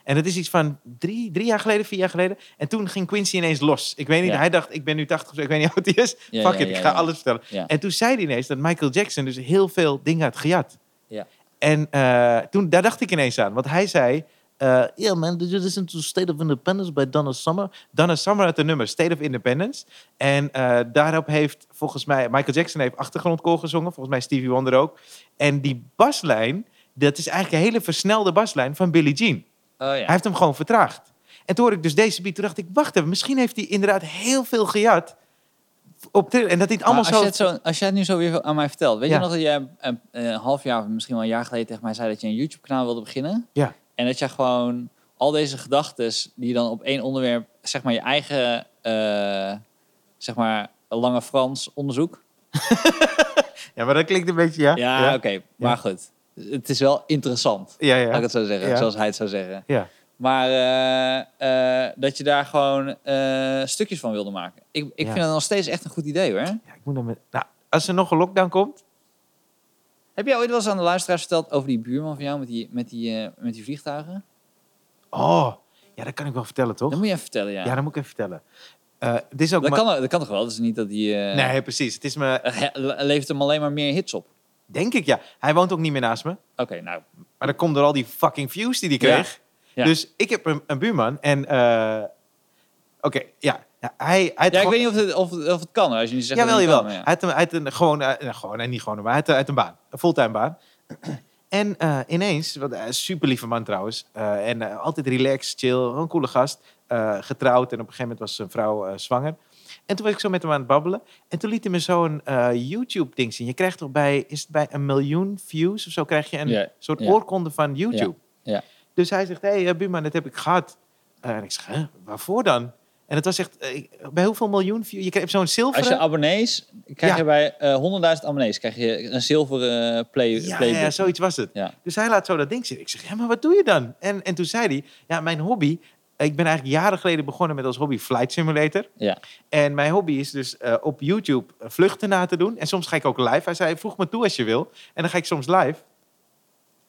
A: En dat is iets van drie, drie jaar geleden, vier jaar geleden. En toen ging Quincy ineens los. Ik weet niet,
B: Ja.
A: hij dacht, ik ben nu 80 of zo, ik weet niet hoe het is.
B: Ja,
A: Fuck
B: ja,
A: it, ik
B: ja,
A: ga
B: ja.
A: alles vertellen.
B: Ja.
A: En toen zei hij ineens dat Michael Jackson dus heel veel dingen had gejat.
B: Ja.
A: En eh, toen, daar dacht ik ineens aan. Want hij zei, eh yeah man, did you listen to State of Independence by Donna Summer? Donna Summer had de nummer State of Independence. En eh, daarop heeft volgens mij, Michael Jackson heeft achtergrondkoor gezongen. Volgens mij Stevie Wonder ook. En die baslijn, dat is eigenlijk een hele versnelde baslijn van Billie Jean.
B: Oh,
A: Hij heeft hem gewoon vertraagd. En toen hoorde ik dus deze beat, toen dacht ik, wacht even, misschien heeft hij inderdaad heel veel gejat. Op Thriller. en dat hij het allemaal
B: Maar als,
A: zo...
B: jij het zo, als jij het nu zo weer aan mij vertelt. Weet
A: Ja.
B: je nog dat jij een, een half jaar of misschien wel een jaar geleden tegen mij zei dat je een YouTube-kanaal wilde beginnen?
A: Ja.
B: En dat jij gewoon al deze gedachten die je dan op één onderwerp, zeg maar je eigen, eh, zeg maar, lange Frans onderzoek.
A: Ja, maar dat klinkt een beetje, ja.
B: Ja,
A: ja,
B: oké. Maar goed, het is wel interessant,
A: ja.
B: laat ik
A: ja.
B: het zo zeggen,
A: Ja.
B: zoals hij het zou zeggen.
A: ja.
B: Maar eh, eh, dat je daar gewoon eh, stukjes van wilde maken. Ik, ik
A: Ja.
B: vind dat nog steeds echt een goed idee hoor.
A: Ja, ik moet dan met... Nou, als er nog een lockdown komt...
B: Heb jij ooit wel eens aan de luisteraars verteld over die buurman van jou met die, met die, eh, met die vliegtuigen?
A: Oh, ja, dat kan ik wel vertellen, toch?
B: Dat moet je even vertellen, ja.
A: Ja, dat moet ik even vertellen. Eh, het is ook
B: dat,
A: maar-
B: kan, dat kan toch wel? Dat is niet dat die... eh,
A: Nee, precies. Het is me...
B: eh, le- *laughs* levert hem alleen maar meer hits op.
A: Denk ik, ja. Hij woont ook niet meer naast me.
B: Oké, nou.
A: Maar dat komt door al die fucking views die hij
B: Ja.
A: kreeg.
B: Ja.
A: Dus ik heb een, een buurman en... eh, Oké, ja. Ja, Hij, hij had
B: Ja, ik
A: gewoon-
B: weet niet of het, of, het- of het kan hoor, als je niet zegt
A: Jawel,
B: dat het
A: jawel.
B: niet
A: Hij
B: kan, maar
A: had een, hij had een gewoon, eh, nou, gewoon en niet gewoon, maar hij had, eh, uit een baan. Een fulltime baan. *clears throat* En eh, ineens, wat een super lieve man trouwens. eh, en eh, altijd relaxed, chill, een coole gast. eh, getrouwd en op een gegeven moment was zijn vrouw eh, zwanger. En toen was ik zo met hem aan het babbelen. En toen liet hij me zo'n eh, YouTube-ding zien. Je krijgt toch bij, is het bij een miljoen views of zo, krijg je een
B: Ja,
A: soort
B: ja.
A: oorkonde van YouTube.
B: ja.
A: Dus hij zegt, hé hey, eh, buurman, dat heb ik gehad. Eh, en ik zeg, "Huh, waarvoor dan? En het was echt, eh, ik- bij hoeveel miljoen views? Je krijgt zo'n
B: ja.
A: zilveren...
B: Als je abonnees, krijg
A: Ja.
B: je bij eh, 100.000 abonnees krijg je een zilveren eh, play,
A: Ja, ja,
B: playbook.
A: ja, zoiets was het.
B: Ja.
A: Dus hij laat zo dat ding zitten. Ik zeg, ja, maar wat doe je dan? En, en toen zei hij, ja, mijn hobby... Ik ben eigenlijk jaren geleden begonnen met als hobby Flight Simulator.
B: Ja.
A: En mijn hobby is dus eh, op YouTube vluchten na te doen. En soms ga ik ook live. Hij zei, vroeg me toe als je wil. En dan ga ik soms live.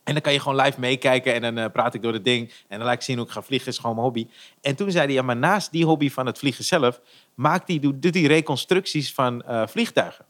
A: En dan kan je gewoon live meekijken en dan eh, praat ik door het ding. En dan laat ik zien hoe ik ga vliegen, is gewoon mijn hobby. En toen zei hij, ja, maar naast die hobby van het vliegen zelf... Maakt die, doet doet hij reconstructies van eh, vliegtuigen.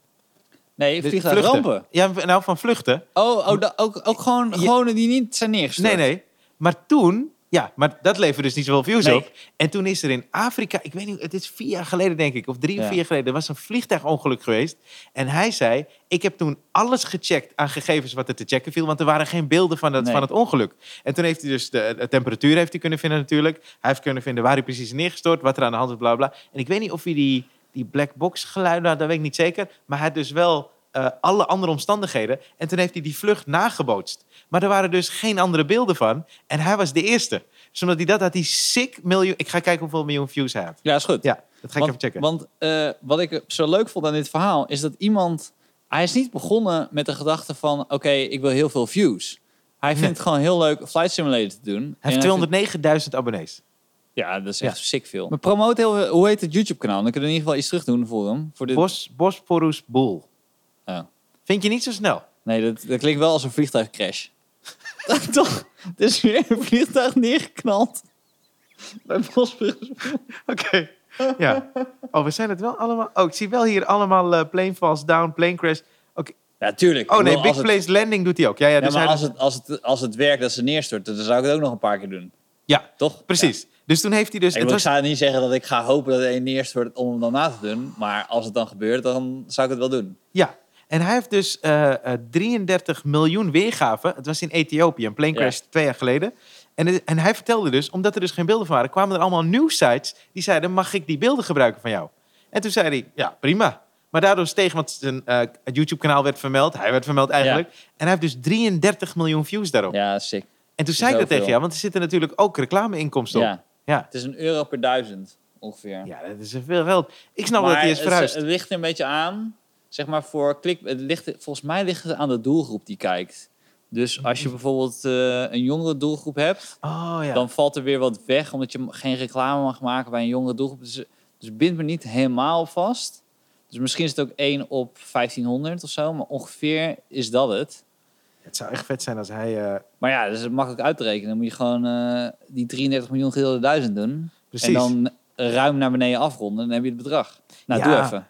B: Nee,
A: Dus
B: vliegtuigrampen.
A: Ja, nou, van vluchten.
B: Oh, oh da- ook, ook gewoon
A: Ja.
B: gewone die niet zijn neergestort.
A: Nee, nee. Maar toen, ja, maar dat leverde dus niet zoveel views
B: Nee.
A: op. En toen is er in Afrika, ik weet niet, het is vier jaar geleden denk ik, of drie of
B: Ja.
A: vier jaar geleden, er was een vliegtuigongeluk geweest. En hij zei, ik heb toen alles gecheckt aan gegevens wat er te checken viel, want er waren geen beelden van het,
B: Nee.
A: van het ongeluk. En toen heeft hij dus de, de temperatuur heeft hij kunnen vinden natuurlijk. Hij heeft kunnen vinden waar hij precies is neergestort, wat er aan de hand is, bla bla. En ik weet niet of hij die, die black box geluiden had, dat weet ik niet zeker. Maar hij had dus wel eh, alle andere omstandigheden. En toen heeft hij die vlucht nagebootst. Maar er waren dus geen andere beelden van. En hij was de eerste. Dus omdat hij dat had, die sick miljoen... Ik ga kijken hoeveel miljoen views hij had.
B: Ja, is goed.
A: Ja, dat ga ik
B: want,
A: even checken.
B: Want eh, wat ik zo leuk vond aan dit verhaal is dat iemand. Hij is niet begonnen met de gedachte van: oké, ik wil heel veel views. Hij vindt het gewoon heel leuk Flight Simulator te doen. En
A: hij heeft 209.000
B: vindt-
A: abonnees.
B: ja, dat is echt sick veel. Maar promoot heel veel. Hoe heet het YouTube-kanaal? Dan kunnen we in ieder geval iets terug doen voor hem. Voor dit...
A: Bos, Bosporus Boel.
B: Oh.
A: Vind je niet zo snel?
B: Nee, dat, dat klinkt wel als een vliegtuigcrash. *laughs* Toch? Het is weer een vliegtuig neergeknald. Bij Bosbrug.
A: Oké. Ja. Oh, we zijn het wel allemaal... Oh, ik zie wel hier allemaal eh, plane falls down, plane crash.
B: Ja, tuurlijk.
A: Oh
B: Ik
A: nee,
B: bedoel,
A: big
B: als het-
A: planes landing doet hij ook. Ja, ja,
B: Ja,
A: dus
B: maar
A: hij,
B: als het, als, het, als het werkt dat ze neerstort, dan zou ik het ook nog een paar keer doen.
A: ja
B: Toch?
A: precies. Dus toen heeft hij dus...
B: Ja. Ik,
A: het
B: bedoel, ik
A: was,
B: zou niet zeggen dat ik ga hopen dat hij neerstort om hem dan na te doen. Maar als het dan gebeurt, dan zou ik het wel doen.
A: Ja, en hij heeft dus eh, eh, 33 miljoen weergaven. Het was in Ethiopië, een plane
B: Ja.
A: crash twee jaar geleden. En, het- en hij vertelde dus, omdat er dus geen beelden van waren, kwamen er allemaal nieuwsites die zeiden: Mag ik die beelden gebruiken van jou? En toen zei hij: Ja, prima. Maar daardoor steeg, want zijn eh, het YouTube-kanaal werd vermeld. Hij werd vermeld eigenlijk. En hij heeft dus 33 miljoen views daarop.
B: Ja, sick.
A: En toen
B: is
A: zei ik
B: heel
A: dat tegen
B: veel.
A: jou, want er zitten natuurlijk ook reclameinkomsten op.
B: Ja.
A: Ja.
B: Het is een euro per duizend ongeveer.
A: ja, dat is veel geld. Ik snap
B: maar
A: dat hij is
B: het-
A: verhuisd.
B: Het, ligt er een beetje aan, zeg maar voor klik. Het ligt, volgens mij ligt het aan de doelgroep die kijkt. Dus als
A: Mm.
B: je bijvoorbeeld eh, een jongere doelgroep hebt,
A: oh ja.
B: eh, dan valt er weer wat weg, omdat je geen reclame mag maken bij een jongere doelgroep. Dus, dus bind me niet helemaal vast. Dus misschien is het ook 1 op 1500 of zo, maar ongeveer is dat het.
A: Het zou echt vet zijn als hij eh,
B: Maar ja, dus dat is makkelijk uit te rekenen. Dan moet je gewoon eh, die 33 miljoen gedeeld door 1000 doen.
A: precies.
B: En dan ruim naar beneden afronden, dan heb je het bedrag. Nou,
A: Ja.
B: doe even.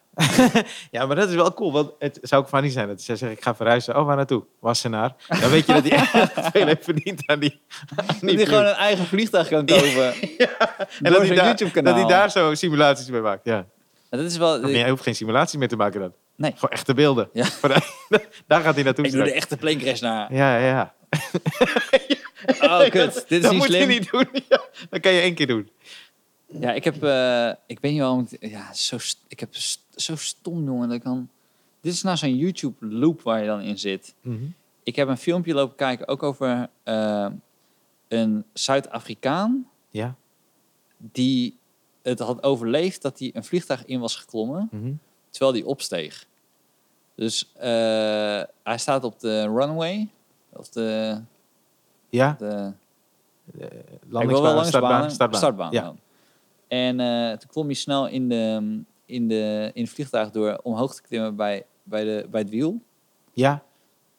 A: *laughs* Ja, maar dat is wel cool. Want het zou ook funny zijn dat zij zeggen, ik ga verhuizen. Oh, waar naartoe? Wassenaar. Dan weet je
B: *laughs*
A: *laughs* dat hij echt veel heeft verdiend aan die, aan
B: Dat
A: views.
B: hij gewoon een eigen vliegtuig
A: *laughs*
B: kan kopen.
A: En
B: Door
A: dat
B: zijn
A: hij, daar, dat
B: YouTube-kanaal.
A: hij daar zo simulaties mee maakt. Ja.
B: Ja, dat is wel...
A: Maar jij hoeft geen simulaties meer te maken dan.
B: Nee.
A: Gewoon echte beelden. *laughs*
B: Ja.
A: Van- daar gaat hij naartoe
B: Ik doe de
A: straks.
B: echte plancrash
A: *laughs*
B: na.
A: Ja, ja, ja.
B: Oh, kut. Dit is
A: dat
B: niet
A: moet
B: slim.
A: je niet doen. *laughs* Ja, dat kan je één keer doen.
B: Ja, ik heb... eh, ik weet niet waarom ik... Ja, zo, st- ik heb st- zo stom, jongen. Dat ik dan... Dit is nou zo'n YouTube-loop waar je dan in zit.
A: Mhm.
B: Ik heb een filmpje lopen kijken, ook over eh, een Zuid-Afrikaan...
A: Ja.
B: die het had overleefd dat hij een vliegtuig in was geklommen...
A: Mhm.
B: terwijl die opsteeg. Dus eh, hij staat op de runway. Of de.
A: Ja, Eh,
B: de ik wil wel
A: landingsbaan,
B: langs
A: startbaan,
B: banen,
A: startbaan.
B: startbaan
A: Ja.
B: dan. En eh, toen klom je snel in, de, mm, in, de, in het vliegtuig door omhoog te klimmen bij, bij, de, bij het wiel.
A: ja,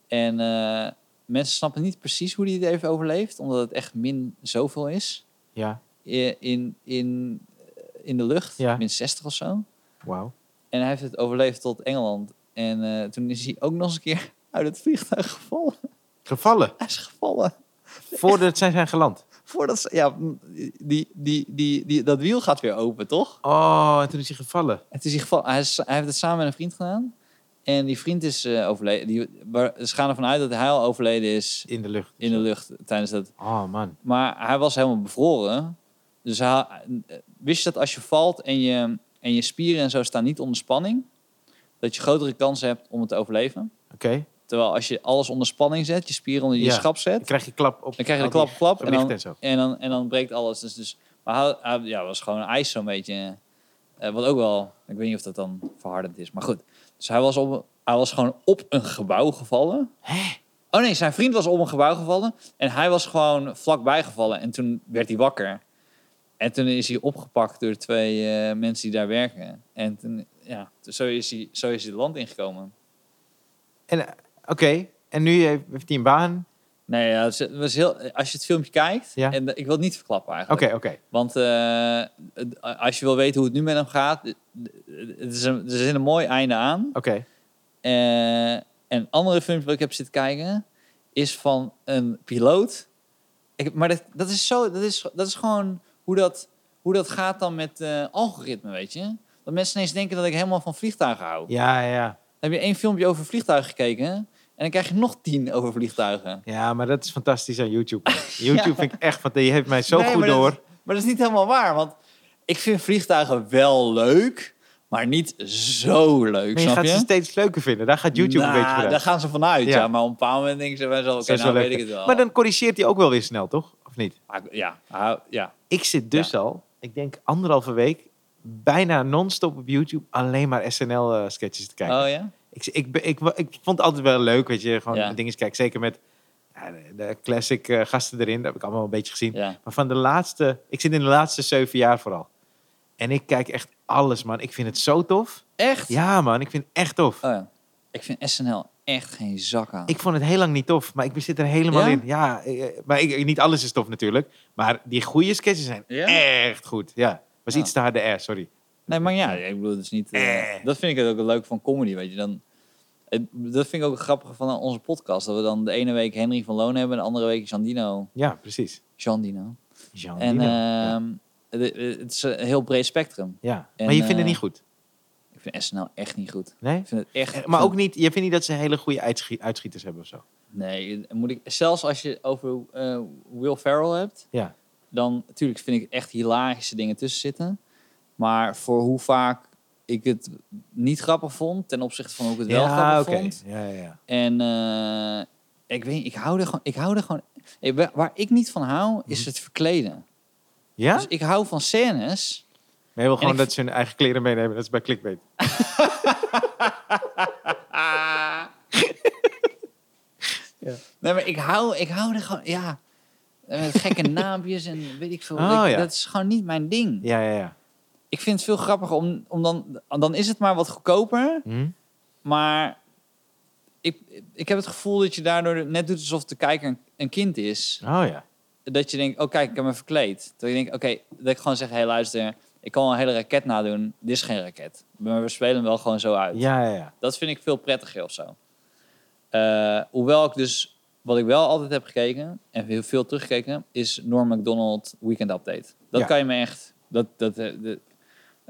B: En eh, mensen snappen niet precies hoe hij het even overleeft, omdat het echt min zoveel is
A: ja.
B: i- in, in, eh, in de lucht,
A: Ja.
B: min 60 of zo.
A: Wauw.
B: En hij heeft het overleefd tot Engeland. En eh, toen is hij ook nog eens een keer *laughs* uit het vliegtuig gevallen.
A: Gevallen.
B: Hij is gevallen.
A: Voordat zij zijn geland.
B: Voordat ze, ja, m, die, die, die, die, dat wiel gaat weer open, toch?
A: Oh, en toen is hij gevallen.
B: En toen is hij gevallen. Hij, is- hij heeft het samen met een vriend gedaan. En die vriend is eh, overleden. Die, waar- ze gaan ervan uit dat hij al overleden is
A: In de lucht.
B: in de lucht tijdens dat.
A: Oh, man.
B: Maar hij was helemaal bevroren. Dus hij, wist je dat als je valt en je, en je spieren en zo staan niet onder spanning, dat je grotere kans hebt om het te overleven?
A: Oké.
B: Terwijl als je alles onder spanning zet, je spieren onder je
A: Ja.
B: schap zet,
A: Dan krijg je klap op.
B: dan krijg je de
A: al
B: klap,
A: die
B: klap en
A: gewichten
B: dan,
A: en zo.
B: en dan, en dan breekt alles. Dus, dus, maar hij, hij- ja, was gewoon ijs zo'n beetje. Eh, wat ook wel, ik weet niet of dat dan verhardend is, maar goed. Dus hij was, op, hij was gewoon op een gebouw gevallen. Oh nee, zijn vriend was op een gebouw gevallen en hij was gewoon vlakbij gevallen en toen werd hij wakker. En toen is hij opgepakt door twee eh, mensen die daar werken. En toen, ja, dus zo is hij, zo is hij het land ingekomen.
A: En, eh, Oké, en nu heeft heeft hij een baan.
B: Nee, ja, het is- het was heel, als je het filmpje kijkt,
A: Ja.
B: en ik wil het niet verklappen
A: Oké,
B: eigenlijk.
A: oké.
B: Want eh, het- als je wil weten hoe het nu met hem gaat, het is, een, er zit een mooi einde aan.
A: Oké.
B: Eh, en andere filmpje wat ik heb zitten kijken is van een piloot. Ik, maar dat, dat is zo, dat is, dat is gewoon hoe dat, hoe dat gaat dan met eh algoritme, weet je? Dat mensen ineens denken dat ik helemaal van vliegtuigen hou.
A: Ja, ja.
B: Dan heb je één filmpje over vliegtuigen gekeken en dan krijg je nog tien over vliegtuigen.
A: Ja, maar dat is fantastisch aan
B: *laughs*
A: YouTube. YouTube vind ik echt, want die heeft mij zo
B: Nee,
A: goed
B: maar dat-
A: door.
B: Maar dat is niet helemaal waar, want ik vind vliegtuigen wel leuk, maar niet zo leuk,
A: Maar je
B: snap
A: gaat
B: je?
A: ze steeds leuker vinden. Daar gaat YouTube
B: Nou,
A: een beetje voor
B: Daar
A: uit.
B: gaan ze vanuit, ja.
A: Ja.
B: Maar op een bepaald moment denken ze bij zo, oké,
A: Dat is
B: nou
A: wel
B: weet ik
A: lekker.
B: het wel.
A: Maar dan corrigeert hij ook wel weer snel, toch? Of niet?
B: Ah, Ja, ah, ja.
A: Ik zit dus al, ik denk anderhalve week, bijna non-stop op YouTube alleen maar SNL-sketches eh, te kijken.
B: Oh ja?
A: Ik, ik, ben- ik, wa- ik vond het altijd wel leuk, weet je, gewoon
B: Ja.
A: dingen kijken. Zeker met ja, de, de classic eh, gasten erin, dat heb ik allemaal een beetje gezien.
B: Ja.
A: Maar van de laatste, ik zit in de laatste zeven jaar vooral. En ik kijk echt alles, man. Ik vind het zo tof.
B: Echt?
A: Ja, man, ik vind het echt tof.
B: Oh, ja. Ik vind SNL echt geen zak aan.
A: Ik vond het heel lang niet tof, maar ik zit er helemaal
B: Ja?
A: in. Ja, eh, maar ik, niet alles is tof natuurlijk. Maar die goede sketches zijn
B: Ja?
A: echt goed. Ja, was
B: Ja.
A: iets te harde R, sorry.
B: Nee, maar ja, ik bedoel, het is niet... eh,
A: Eh.
B: Dat vind ik het ook leuk van comedy, weet je. Dan, het- dat vind ik ook grappig van onze podcast. Dat we dan de ene week Henry van Loon hebben en de andere week Jandino.
A: Ja, precies.
B: Jandino.
A: Jean
B: En
A: Dino. ja.
B: ehm, het, het is een heel breed spectrum.
A: Ja.
B: en,
A: maar je vindt
B: eh,
A: het niet goed,
B: Ik vind SNL echt niet goed.
A: nee?
B: Ik vind het echt...
A: Eh, Maar ook niet, je vindt niet dat ze hele goede uitschie- uitschieters hebben of zo?
B: Nee, moet ik, zelfs als je over eh, Will Ferrell hebt,
A: Ja.
B: dan natuurlijk vind ik echt hilarische dingen tussen zitten. Maar voor hoe vaak ik het niet grappig vond ten opzichte van hoe ik het wel grappig
A: oké.
B: vond.
A: Ja, ja, ja.
B: En eh, ik weet, ik hou er gewoon, ik hou er gewoon. ik- wa- waar ik niet van hou, is het verkleden.
A: Mhm. Ja?
B: Dus ik hou van scènes.
A: Maar je wil
B: ik-
A: gewoon dat ze hun eigen kleren meenemen. Dat is bij clickbait.
B: Nee, maar ik hou, ik hou er gewoon, ja. eh, Met
A: *laughs*
B: gekke naampjes en weet ik veel.
A: Oh,
B: Ik-
A: ja.
B: Dat is gewoon niet mijn ding.
A: Ja, ja, ja.
B: Ik vind het veel grappiger om, om dan, dan is het maar wat goedkoper.
A: Hm?
B: Maar ik, ik heb het gevoel dat je daardoor net doet alsof de kijker een, een kind is.
A: Oh ja.
B: Dat je denkt, oh kijk, ik heb me verkleed. Dat je denkt, oké, dat ik gewoon zeg, hé hey, luister, ik kan wel een hele raket nadoen. Dit is geen raket. Maar we spelen hem wel gewoon zo uit.
A: Ja, ja, ja.
B: Dat vind ik veel prettiger of zo. Eh, hoewel ik dus, wat ik wel altijd heb gekeken en heel veel teruggekeken, is Norm MacDonald Weekend Update. Dat
A: Ja.
B: kan je me echt. Dat, dat, eh, de-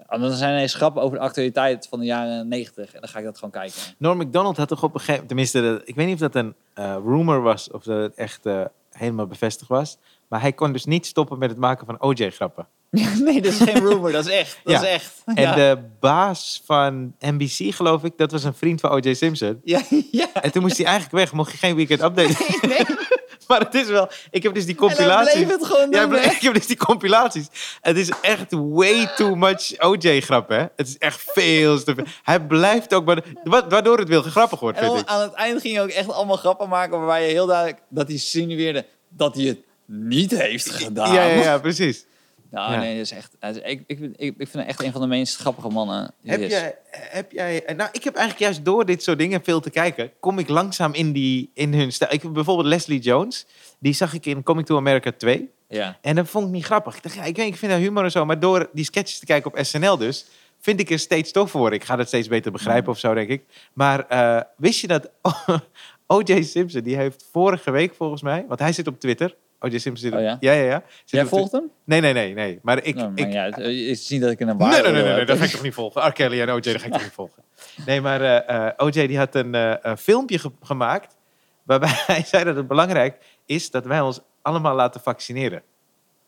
B: Ah, dan zijn er eens grappen over de actualiteit van de jaren 90. En dan ga ik dat gewoon *laughs* kijken.
A: Norm MacDonald had toch op een gegeven tenminste, dat- ik weet niet of dat een eh, rumor was of dat het echt eh, helemaal bevestigd was. Maar hij kon dus niet stoppen met het maken van OJ-grappen.
B: nee, dat is geen rumor, dat is echt. Dat
A: Ja.
B: is echt.
A: En de baas van NBC, geloof ik, dat was een vriend van O.J. Simpson.
B: ja, ja. *laughs*
A: En toen moest hij eigenlijk weg, mocht je geen weekend update.
B: Nee,
A: *laughs* maar het is wel, ik heb dus die
B: en dan
A: compilaties.
B: bleef het gewoon
A: Ja,
B: doen,
A: maar
B: *laughs* hè?
A: *laughs* ik heb dus die compilaties. Het is echt way too much OJ-grap, hè? Het is echt veel te veel. Hij blijft ook, maar wa- waardoor het wel grappig wordt,
B: En dan
A: vind ik.
B: aan het eind ging je ook echt allemaal grappen maken waarbij je heel duidelijk dat hij sinueerde dat hij het niet heeft gedaan.
A: Ja, ja, ja, precies.
B: Nou,
A: Ja.
B: nee, dat is echt. dat is- ik, ik, ik, ik vind hem echt een van de meest grappige mannen. die er
A: Heb
B: is.
A: jij, heb jij, nou, ik heb eigenlijk juist door dit soort dingen veel te kijken, kom ik langzaam in, die, in hun stijl. Ik, bijvoorbeeld Leslie Jones, die zag ik in Coming to America 2.
B: Ja.
A: En dat vond ik niet grappig. Ik dacht, ja, ik, weet, ik vind haar humor en zo, maar door die sketches te kijken op SNL dus, vind ik er steeds toffer worden. Ik ga dat steeds beter begrijpen of zo, denk ik. Maar eh, wist je dat *laughs* O.J. Simpson, die heeft vorige week volgens mij, want hij zit op Twitter. O.J. Simpson zit op,
B: Oh ja?
A: Ja, ja, ja. Zit
B: Jij
A: op Twi-
B: volgt hem?
A: Nee, nee, nee, nee. Maar ik,
B: nou, maar
A: ik,
B: ja, het, eh, is niet dat ik een waar
A: Nee, nee, nee,
B: oordeel
A: nee, nee,
B: heb.
A: dat ga ik toch niet volgen. R. Kelly en OJ, dat ga ik toch niet volgen. Nee, maar eh, eh, OJ die had een eh, een filmpje ge- gemaakt waarbij *laughs* hij zei dat het belangrijk is dat wij ons allemaal laten vaccineren.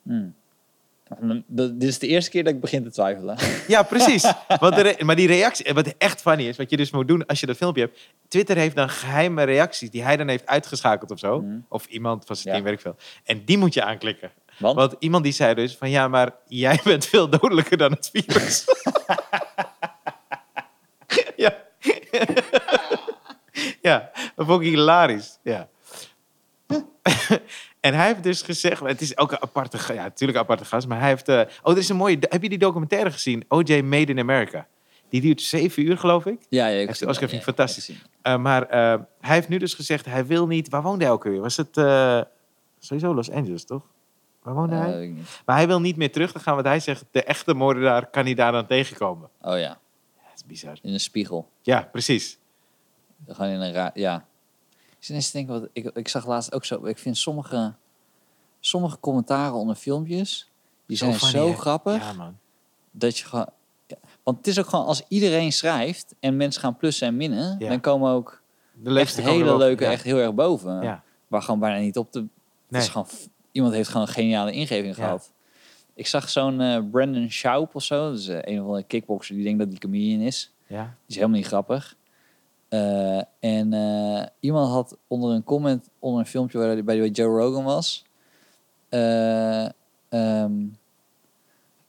B: Hmm. Nou, dat- Dit is de eerste keer dat ik begin te
A: *laughs*
B: twijfelen.
A: Ja, precies. Want de re- maar die reactie, eh, wat echt funny is, wat je dus moet doen als je dat filmpje hebt. Twitter heeft dan geheime reacties die hij dan heeft uitgeschakeld of zo.
B: Mm.
A: Of iemand van zijn
B: Ja.
A: team, weet ik veel. En die moet je aanklikken.
B: Want?
A: Want iemand die zei dus van ja, maar jij *laughs* bent veel dodelijker dan het virus. *laughs* ja. *laughs* ja, dat vond ik hilarisch. Ja. *laughs* en hij heeft dus gezegd, het is ook een aparte, ga- ja, natuurlijk een aparte gast, maar hij heeft, eh, oh, er is een mooie, heb je die documentaire gezien? OJ Made in America. Die duurt zeven uur, geloof ik.
B: Ja, ja, ik
A: Heeft
B: zie
A: Oscar
B: dat,
A: vind ik fantastisch.
B: ik zie dat.
A: Eh, maar eh, hij heeft nu dus gezegd, hij wil niet, waar woonde hij ook weer? Was het eh, sowieso Los Angeles, toch? Waar woonde
B: Eh,
A: hij?
B: weet ik niet.
A: Maar hij wil niet meer terug te gaan, want hij zegt: de echte moordenaar kan hij daar dan tegenkomen.
B: Oh ja,
A: Dat is bizar.
B: in een spiegel.
A: Ja, precies.
B: Gewoon in een raar... Ja. Ik zit eens te denken, wat, ik, ik zag laatst ook zo... Ik vind sommige, sommige commentaren onder filmpjes... Die
A: Zo
B: zijn
A: funny,
B: zo
A: hè?
B: grappig
A: Ja, man.
B: dat je gewoon... ja, Want het is ook gewoon als iedereen schrijft en mensen gaan plussen en minnen...
A: Ja.
B: dan komen ook
A: De
B: echt
A: leukste komen
B: hele
A: erop.
B: leuke
A: Ja.
B: echt heel erg boven.
A: Ja.
B: Waar gewoon bijna niet op te... Het
A: Nee.
B: is gewoon, f- iemand heeft gewoon een geniale ingeving
A: Ja.
B: gehad. Ik zag zo'n eh, Brandon Schaub of zo. Dat is eh, een of andere kickboxer die denkt dat hij comedian is.
A: Ja.
B: Die is helemaal niet grappig. Eh, en eh, iemand had onder een comment, onder een filmpje waar, bij Joe Rogan was. eh, ehm,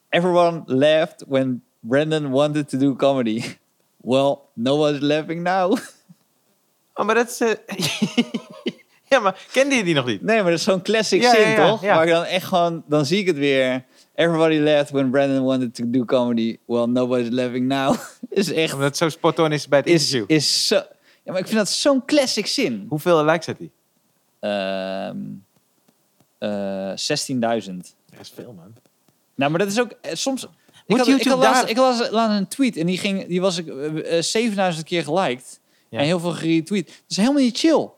B: Everyone laughed when Brandon wanted to do comedy. *laughs* Well, no one's laughing now. *laughs*
A: Oh, maar dat is... eh, *laughs* ja, maar kende je die nog niet?
B: Nee, maar dat is zo'n classic
A: Ja,
B: zin,
A: ja, ja,
B: toch?
A: ja.
B: Waar ik dan echt gewoon... Dan zie ik het weer. Everybody laughed when Brandon wanted to do comedy. Well, nobody's laughing now. *laughs* is echt...
A: Omdat het zo spot on is bij het
B: Is,
A: interview.
B: is zo... Ja, maar ik vind dat zo'n classic zin.
A: Hoeveel likes had hij?
B: Ehm, eh, 16.000.
A: Dat is veel, man.
B: Nou, maar dat is ook eh, soms. Ik
A: Moet
B: had, ik
A: YouTube
B: had laatst,
A: daar-
B: ik las laatst een tweet en die, ging, die was ik eh, eh, 7000 keer geliked.
A: Ja.
B: En heel veel geretweet. Dat is helemaal niet chill.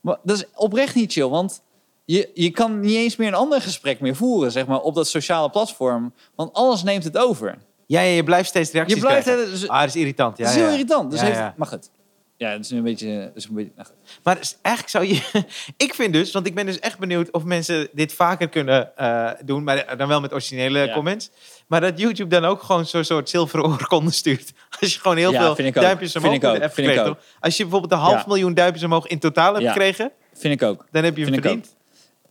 B: Maar dat is oprecht niet chill, want je, je kan niet eens meer een ander gesprek meer voeren, zeg maar, op dat sociale platform. Want alles neemt het over.
A: Ja, ja, je blijft steeds reacties
B: Je blijft.
A: krijgen.
B: eh, dus-
A: Ah, dat is irritant. Ja,
B: dat is heel
A: ja.
B: irritant. Dus
A: Ja,
B: heeft,
A: ja.
B: Maar goed. Ja, dat is nu een beetje. dat Is een beetje nou goed.
A: Maar s- eigenlijk zou je... *laughs* ik vind dus, want ik ben dus echt benieuwd of mensen dit vaker kunnen eh, doen, maar dan wel met originele
B: Ja.
A: comments. Maar dat YouTube dan ook gewoon zo'n soort zilveren oorkonde stuurt. *laughs* Als je gewoon heel
B: Ja,
A: veel
B: vind ik ook.
A: duimpjes omhoog
B: Vind ik ook.
A: hebt
B: Vind ik
A: gekregen.
B: ook.
A: toch? Als je bijvoorbeeld een half
B: Ja.
A: miljoen duimpjes omhoog in totaal hebt
B: Ja.
A: gekregen,
B: Vind ik ook.
A: dan heb je
B: Vind ik
A: verdiend.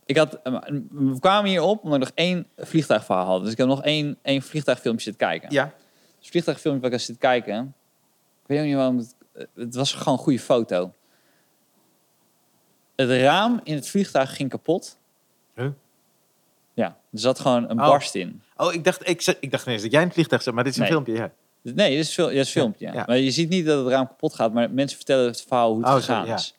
B: Ik had, eh, we kwamen hier op omdat ik nog één vliegtuigverhaal had. Dus ik heb nog één, één vliegtuigfilmpje zitten kijken.
A: Ja.
B: Dus het vliegtuigfilmpje wat ik zit kijken. Ik weet ook niet waarom. Het, eh, het was gewoon een goede foto. Het raam in het vliegtuig ging kapot.
A: Huh?
B: Ja, er zat gewoon een
A: Oh.
B: barst in.
A: Oh, ik dacht, ik, ze- ik dacht ineens dat jij in het vliegtuig zat, maar dit is een
B: Nee.
A: filmpje. Ja.
B: Nee, dit is, fil- dit is filmpje. Ja.
A: ja.
B: Maar je ziet niet dat het raam kapot gaat, maar mensen vertellen het verhaal hoe het
A: Oh, zo,
B: gegaan
A: ja.
B: is.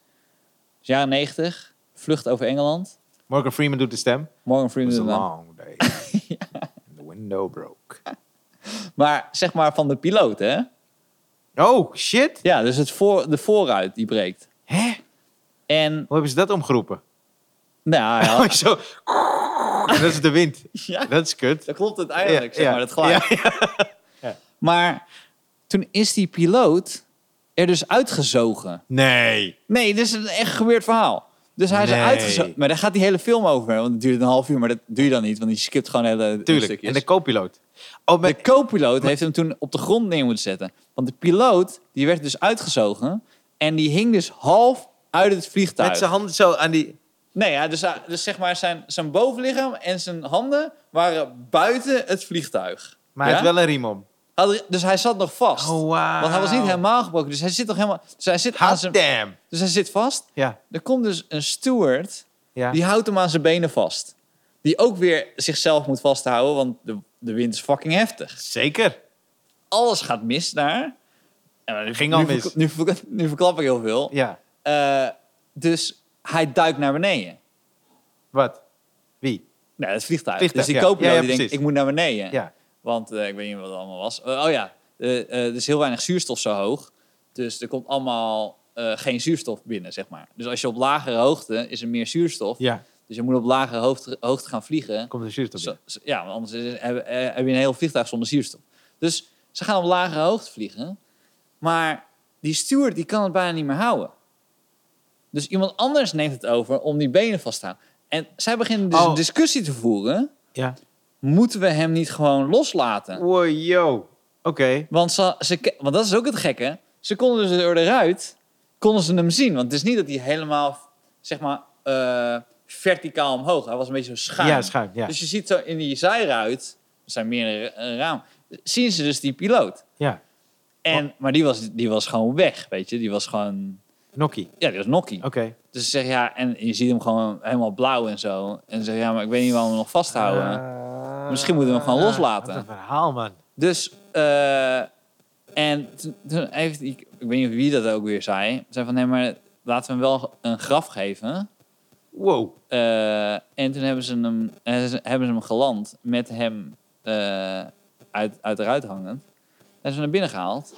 B: Dus jaren 90, vlucht over Engeland.
A: Morgan Freeman doet de stem.
B: Morgan
A: It was a
B: Freeman. doet het
A: long
B: dan.
A: day. *laughs* And the window broke.
B: Maar zeg maar van de piloot, hè?
A: Oh, shit.
B: Ja, dus het voor, de voorruit die breekt.
A: Hè?
B: En
A: Hoe hebben ze dat omgeroepen?
B: nou
A: *laughs*
B: ja,
A: Oh, zo. Dat is de wind.
B: *laughs* ja
A: Dat is kut.
B: dat klopt uiteindelijk,
A: Ja,
B: zeg
A: ja. *laughs*
B: maar, dat geluid. Maar toen is die piloot er dus uitgezogen.
A: Nee.
B: Nee, dit is een echt gebeurd verhaal. Dus hij is
A: Nee.
B: er uitgezogen. Maar daar gaat die hele film over, want het duurt een half uur. Maar dat doe je dan niet, want die skipt gewoon hele
A: Tuurlijk.
B: stukjes.
A: En de co-piloot. Oh, maar-
B: De co-piloot heeft hem toen op de grond neer moeten zetten. Want de piloot, die werd dus uitgezogen. En die hing dus half uit het vliegtuig.
A: met zijn handen zo aan die...
B: Nee, ja, dus, hij- dus zeg maar zijn, zijn bovenlichaam en zijn handen waren buiten het vliegtuig.
A: Maar
B: Ja?
A: hij heeft wel een riem om.
B: Had er- Dus hij zat nog vast.
A: Oh, wauw.
B: Want hij was niet helemaal gebroken. Dus hij zit nog helemaal... Dus hij zit, aan
A: Hot
B: zijn,
A: damn.
B: dus hij zit vast.
A: Ja.
B: Er komt dus een steward,
A: ja.
B: die houdt hem aan zijn benen vast. Die ook weer zichzelf moet vasthouden, want de, de wind is fucking heftig.
A: Zeker.
B: Alles gaat mis daar. En nu-
A: Ging al
B: nu
A: mis.
B: verkla- Nu, verkla- nu verklap ik heel veel.
A: Ja.
B: Eh, dus hij duikt naar beneden.
A: Wat? Wie?
B: Nee, het vliegtuig.
A: Vliegtuig,
B: dus die
A: ja.
B: koper
A: Ja, ja,
B: die denkt,
A: precies.
B: ik moet naar beneden.
A: Ja.
B: Want eh, ik weet niet wat het allemaal was. Eh, oh ja, eh, eh, er is heel weinig zuurstof zo hoog. Dus er komt allemaal eh, geen zuurstof binnen, zeg maar. Dus als je op lagere hoogte is er meer zuurstof.
A: Ja.
B: Dus je moet op lagere hoogte, hoogte gaan vliegen.
A: Komt de zuurstof
B: Zo-
A: binnen.
B: zo- ja, want anders is- heb, eh, heb je een heel vliegtuig zonder zuurstof. Dus ze gaan op lagere hoogte vliegen. Maar die steward die kan het bijna niet meer houden. Dus iemand anders neemt het over om die benen vast te houden. En zij beginnen dus
A: Oh.
B: een discussie te voeren.
A: Ja.
B: Moeten we hem niet gewoon loslaten?
A: Wow, yo. Oké.
B: Want, ze, ze, ke- want dat is ook het gekke. Ze konden dus door de ruit, konden ze hem zien. Want het is niet dat hij helemaal, zeg maar, eh, verticaal omhoog. Hij was een beetje zo schuin.
A: Ja, schuin. Ja.
B: Dus je ziet zo in die zijruit, er zijn meerdere eh, ramen, zien ze dus die piloot.
A: ja. Oh.
B: En, maar die was, die was gewoon weg, weet je. Die was gewoon,
A: Nokkie.
B: ja, die was nokkie.
A: Oké.
B: Dus ze zeggen, ja, en je ziet hem gewoon helemaal blauw en zo. En ze zeggen, ja, maar ik weet niet waarom we hem nog vasthouden.
A: Eh,
B: Misschien moeten we hem gewoon loslaten.
A: Wat een verhaal, man.
B: Dus, eh, en toen, toen heeft, die- ik, weet niet wie dat ook weer zei, zei van nee, maar laten we hem wel een graf geven.
A: Wow.
B: Eh, en toen hebben ze hem, eh, ze- hebben ze hem geland met hem eh, uit, uit de ruit hangend. Hebben ze hem naar binnen gehaald.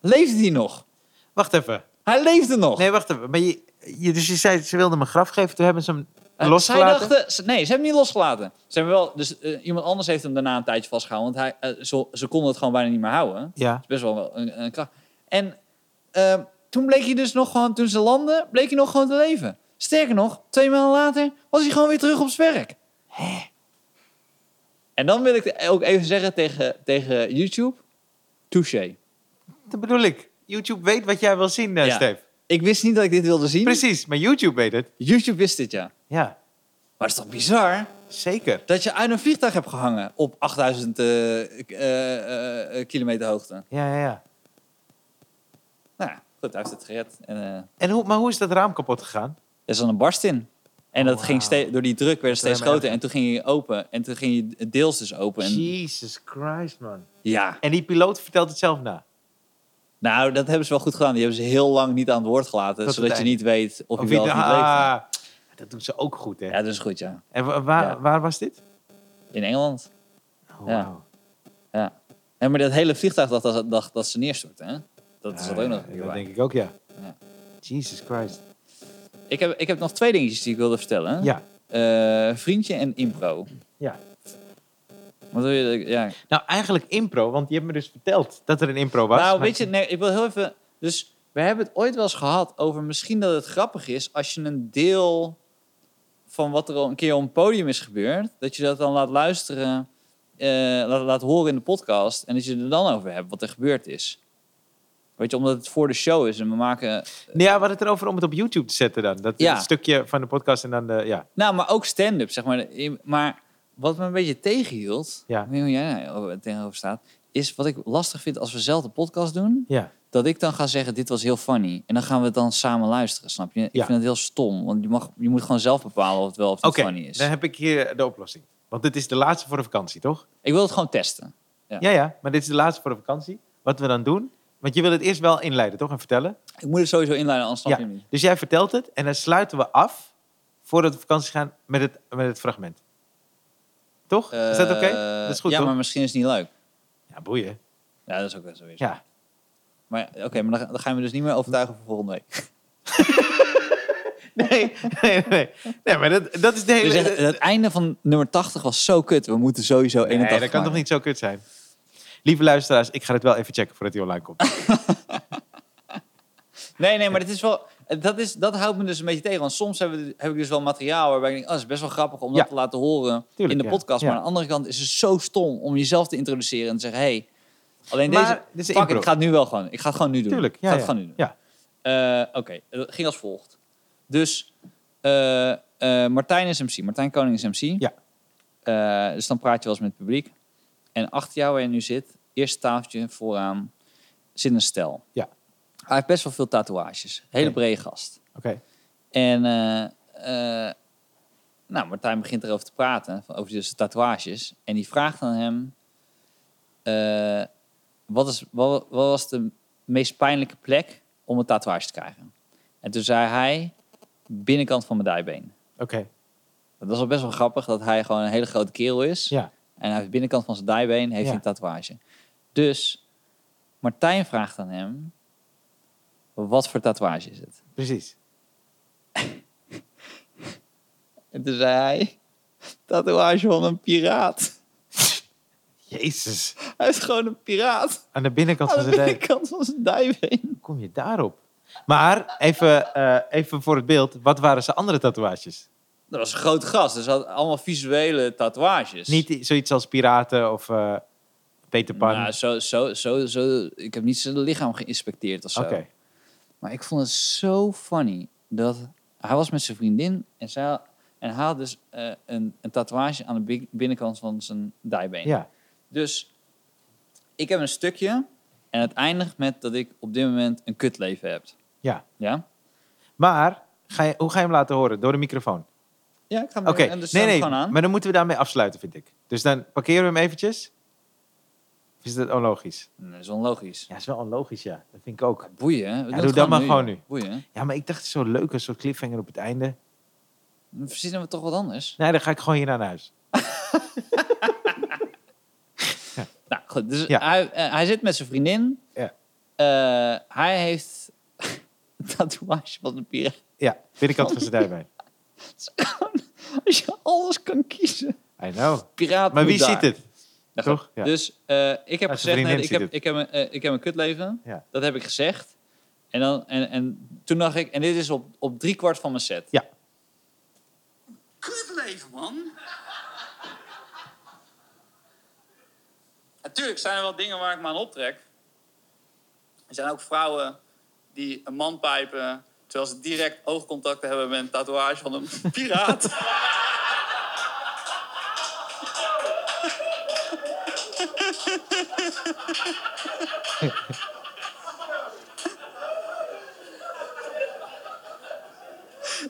B: Leefde hij nog?
A: Wacht even.
B: Hij leefde nog.
A: Nee, wacht even. Maar je, je- dus je zei, ze wilden me graf geven. Toen hebben ze hem
B: Eh,
A: losgelaten.
B: Zij dachten, ze- nee, ze hebben hem niet losgelaten. Ze hebben wel, dus eh, iemand anders heeft hem daarna een tijdje vastgehouden. Want hij, eh, zo- ze konden het gewoon bijna niet meer houden. Dat
A: Ja.
B: is best wel een, een kracht. En ehm, toen bleek hij dus nog gewoon, toen ze landden, bleek hij nog gewoon te leven. Sterker nog, twee maanden later was hij gewoon weer terug op zijn werk. En dan wil ik ook even zeggen tegen, tegen YouTube, touché.
A: Dat bedoel ik. YouTube weet wat jij wil zien, eh
B: Ja.
A: Steve.
B: Ik wist niet dat ik dit wilde zien.
A: Precies, maar YouTube weet het.
B: YouTube wist dit, ja.
A: Ja,
B: Maar het is toch bizar?
A: zeker.
B: Dat je uit een vliegtuig hebt gehangen op 8000 eh, k- eh, eh, kilometer hoogte.
A: Ja, ja, ja.
B: Nou ja, goed, hij heeft het gered. En, eh, er
A: En hoe, maar hoe is dat raam kapot gegaan?
B: is dan een barst in. En dat
A: Oh, Wauw.
B: ging steeds, door die druk werd het
A: Dat is
B: steeds
A: alleen maar
B: groter. En toen ging hij open. En toen ging hij deels dus open. En,
A: Jesus Christ, man.
B: ja,
A: En die piloot vertelt het zelf na.
B: nou dat hebben ze wel goed gedaan. Die hebben ze heel lang niet aan het woord gelaten.
A: Tot
B: zodat
A: het
B: je
A: eind.
B: niet weet of hij
A: wie-
B: wel of niet leeft.
A: Ah, dat doen ze ook goed, hè?
B: Ja, dat is goed, ja.
A: En wa- waar,
B: Ja.
A: waar was dit?
B: In Engeland.
A: Oh,
B: Ja.
A: wauw.
B: Ja. En maar dat hele vliegtuig dacht dat, dacht dat ze neerstortte, hè? Dat is
A: Ja,
B: dat ook nog
A: ja,
B: een keer
A: Dat
B: waar.
A: denk ik ook, ja.
B: Ja.
A: Jesus Christ.
B: Ik heb, ik heb nog twee dingetjes die ik wilde vertellen.
A: Ja.
B: Eh, vriendje en impro.
A: Ja.
B: Wat wil je? dat ik- Ja.
A: Nou, eigenlijk impro, want je hebt me dus verteld dat er een impro was.
B: Nou,
A: maar-
B: weet je, nee, ik wil heel even. Dus we hebben het ooit wel eens gehad over misschien dat het grappig is als je een deel van wat er al een keer op een podium is gebeurd, dat je dat dan laat luisteren, eh, laat, laat horen in de podcast en dat je er dan over hebt wat er gebeurd is. Weet je, omdat het voor de show is en we maken.
A: Nee, Ja, we hadden het erover om het op YouTube te zetten dan. Dat
B: Ja.
A: dat stukje van de podcast en dan de... Ja,
B: Nou, maar ook stand-up, zeg maar. Maar wat me een beetje tegenhield,
A: Ja.
B: ik weet niet hoe jij daar tegenover staat, is wat ik lastig vind als we zelf de podcast doen.
A: ja.
B: dat ik dan ga zeggen, dit was heel funny. En dan gaan we het dan samen luisteren, snap je? Ik
A: Ja.
B: vind het heel stom, want je, mag, je moet gewoon zelf bepalen of het wel of het
A: Oké,
B: niet funny is.
A: dan heb ik hier de oplossing. Want dit is de laatste voor de vakantie, toch?
B: Ik wil het gewoon testen. Ja.
A: Ja, ja, maar dit is de laatste voor de vakantie. Wat we dan doen... Want je wil het eerst wel inleiden, toch? En vertellen.
B: Ik moet het sowieso inleiden, anders snap
A: Ja.
B: je het niet.
A: Dus jij vertelt het en dan sluiten we af... voordat we op vakantie gaan met het, met het fragment. Toch? is dat oké?
B: Eh,
A: Dat is goed,
B: Ja,
A: toch?
B: maar misschien is het niet leuk.
A: Ja, boeien.
B: Ja, dat is ook wel zo. Ja.
A: Ja. *laughs*
B: Maar oké, maar dan, dan gaan we dus niet meer overtuigen voor volgende week.
A: Nee, nee, nee. Nee, maar dat, dat is de hele...
B: Dus echt, het einde van nummer 80 was zo kut. We moeten sowieso
A: Nee,
B: 81
A: dat kan toch
B: maken.
A: niet zo kut zijn? Lieve luisteraars, ik ga het wel even checken voordat hij online komt.
B: Nee, nee, maar het is wel, dat, is, dat houdt me dus een beetje tegen. Want soms heb, we- heb ik dus wel materiaal waarbij ik denk... Oh, dat is best wel grappig om dat
A: Ja.
B: te laten horen
A: Tuurlijk,
B: in de
A: ja.
B: podcast.
A: Ja.
B: Maar aan de andere kant is het zo stom om jezelf te introduceren en te zeggen... Hey, alleen
A: Maar
B: deze...
A: dit is een
B: fuck, it,
A: impro.
B: ik ga het nu wel gewoon. Ik ga het gewoon nu doen.
A: Tuurlijk.
B: ik ga
A: Ja,
B: het
A: ja.
B: gewoon nu doen.
A: ja.
B: Eh, Oké, dat ging als volgt. Dus eh, eh, Martijn is MC. Martijn Koning is MC.
A: Ja.
B: Eh, dus dan praat je wel eens met het publiek. En achter jou waar je nu zit, eerste tafeltje vooraan, zit een stel.
A: Ja.
B: Hij heeft best wel veel tatoeages. Hele
A: Oké.
B: brede gast.
A: Oké.
B: En eh, eh, nou, Martijn begint erover te praten, van- over dus de tatoeages. En die vraagt aan hem, eh, wat, is, wat, wat was de meest pijnlijke plek om een tatoeage te krijgen? En toen zei hij, binnenkant van mijn dijbeen.
A: Oké.
B: Dat was wel best wel grappig, dat hij gewoon een hele grote kerel is.
A: Ja.
B: En hij heeft de binnenkant van zijn dijbeen heeft
A: Ja.
B: hij een tatoeage. Dus Martijn vraagt aan hem, wat voor tatoeage is het?
A: Precies.
B: En toen zei hij, tatoeage van een piraat.
A: Jezus.
B: Hij is gewoon een piraat.
A: Aan de binnenkant van
B: Aan
A: zijn
B: de
A: dijk.
B: binnenkant van zijn dijbeen.
A: Hoe kom je daarop? Maar even, eh, even voor het beeld. Wat waren zijn andere tatoeages?
B: Dat was een groot gast. Dus hij had allemaal visuele tatoeages.
A: Niet i- zoiets als piraten of eh, Peter Pan.
B: Nou, zo, zo, zo, zo, ik heb niet zijn lichaam geïnspecteerd of zo.
A: Oké.
B: Maar ik vond het zo funny dat hij was met zijn vriendin en, zij, en hij had dus eh, een, een tatoeage aan de bi- binnenkant van zijn dijbeen.
A: Ja.
B: Dus ik heb een stukje en het eindigt met dat ik op dit moment een kutleven heb.
A: Ja.
B: Ja?
A: Maar ga je, hoe ga je hem laten horen? Door de microfoon.
B: Ja, ik ga hem
A: Oké.
B: en dus
A: Nee, nee.
B: gewoon aan.
A: Maar dan moeten we daarmee afsluiten, vind ik. Dus dan parkeren we hem eventjes. Of is dat onlogisch?
B: Nee, dat is onlogisch.
A: Ja, is wel onlogisch, ja. Dat vind ik ook.
B: Boeien, hè? We doen
A: doe
B: het
A: dat maar
B: joh.
A: gewoon nu.
B: Boeien. hè?
A: Ja, maar ik dacht, het is zo leuk, een soort cliffhanger op het einde.
B: Dan verzinnen we toch wat anders.
A: Nee, dan ga ik gewoon hier naar huis.
B: Nou, goed. Dus
A: Ja.
B: Nou, hij, eh, hij zit met zijn vriendin.
A: Ja.
B: Eh, hij heeft *laughs* tatoeage van de piraat.
A: Ja, binnenkant van zijn
B: *laughs*
A: dijbeen.
B: Als je alles kan kiezen.
A: I know.
B: Piraat
A: Maar
B: moet
A: wie
B: daar.
A: ziet het?
B: Nou,
A: Toch? Ja.
B: Dus eh, ik heb
A: Als je
B: gezegd,
A: vriendin
B: net, ik,
A: ziet
B: heb,
A: het.
B: ik, heb een, eh, ik heb een kutleven.
A: Ja.
B: Dat heb ik gezegd. En, dan, en, en toen dacht ik, en dit is op, op drie kwart van mijn set.
A: Ja.
C: kutleven, man. Natuurlijk zijn er wel dingen waar ik me aan optrek. Er zijn ook vrouwen die een man pijpen... terwijl ze direct oogcontact hebben met een tatoeage van een *laughs* piraat.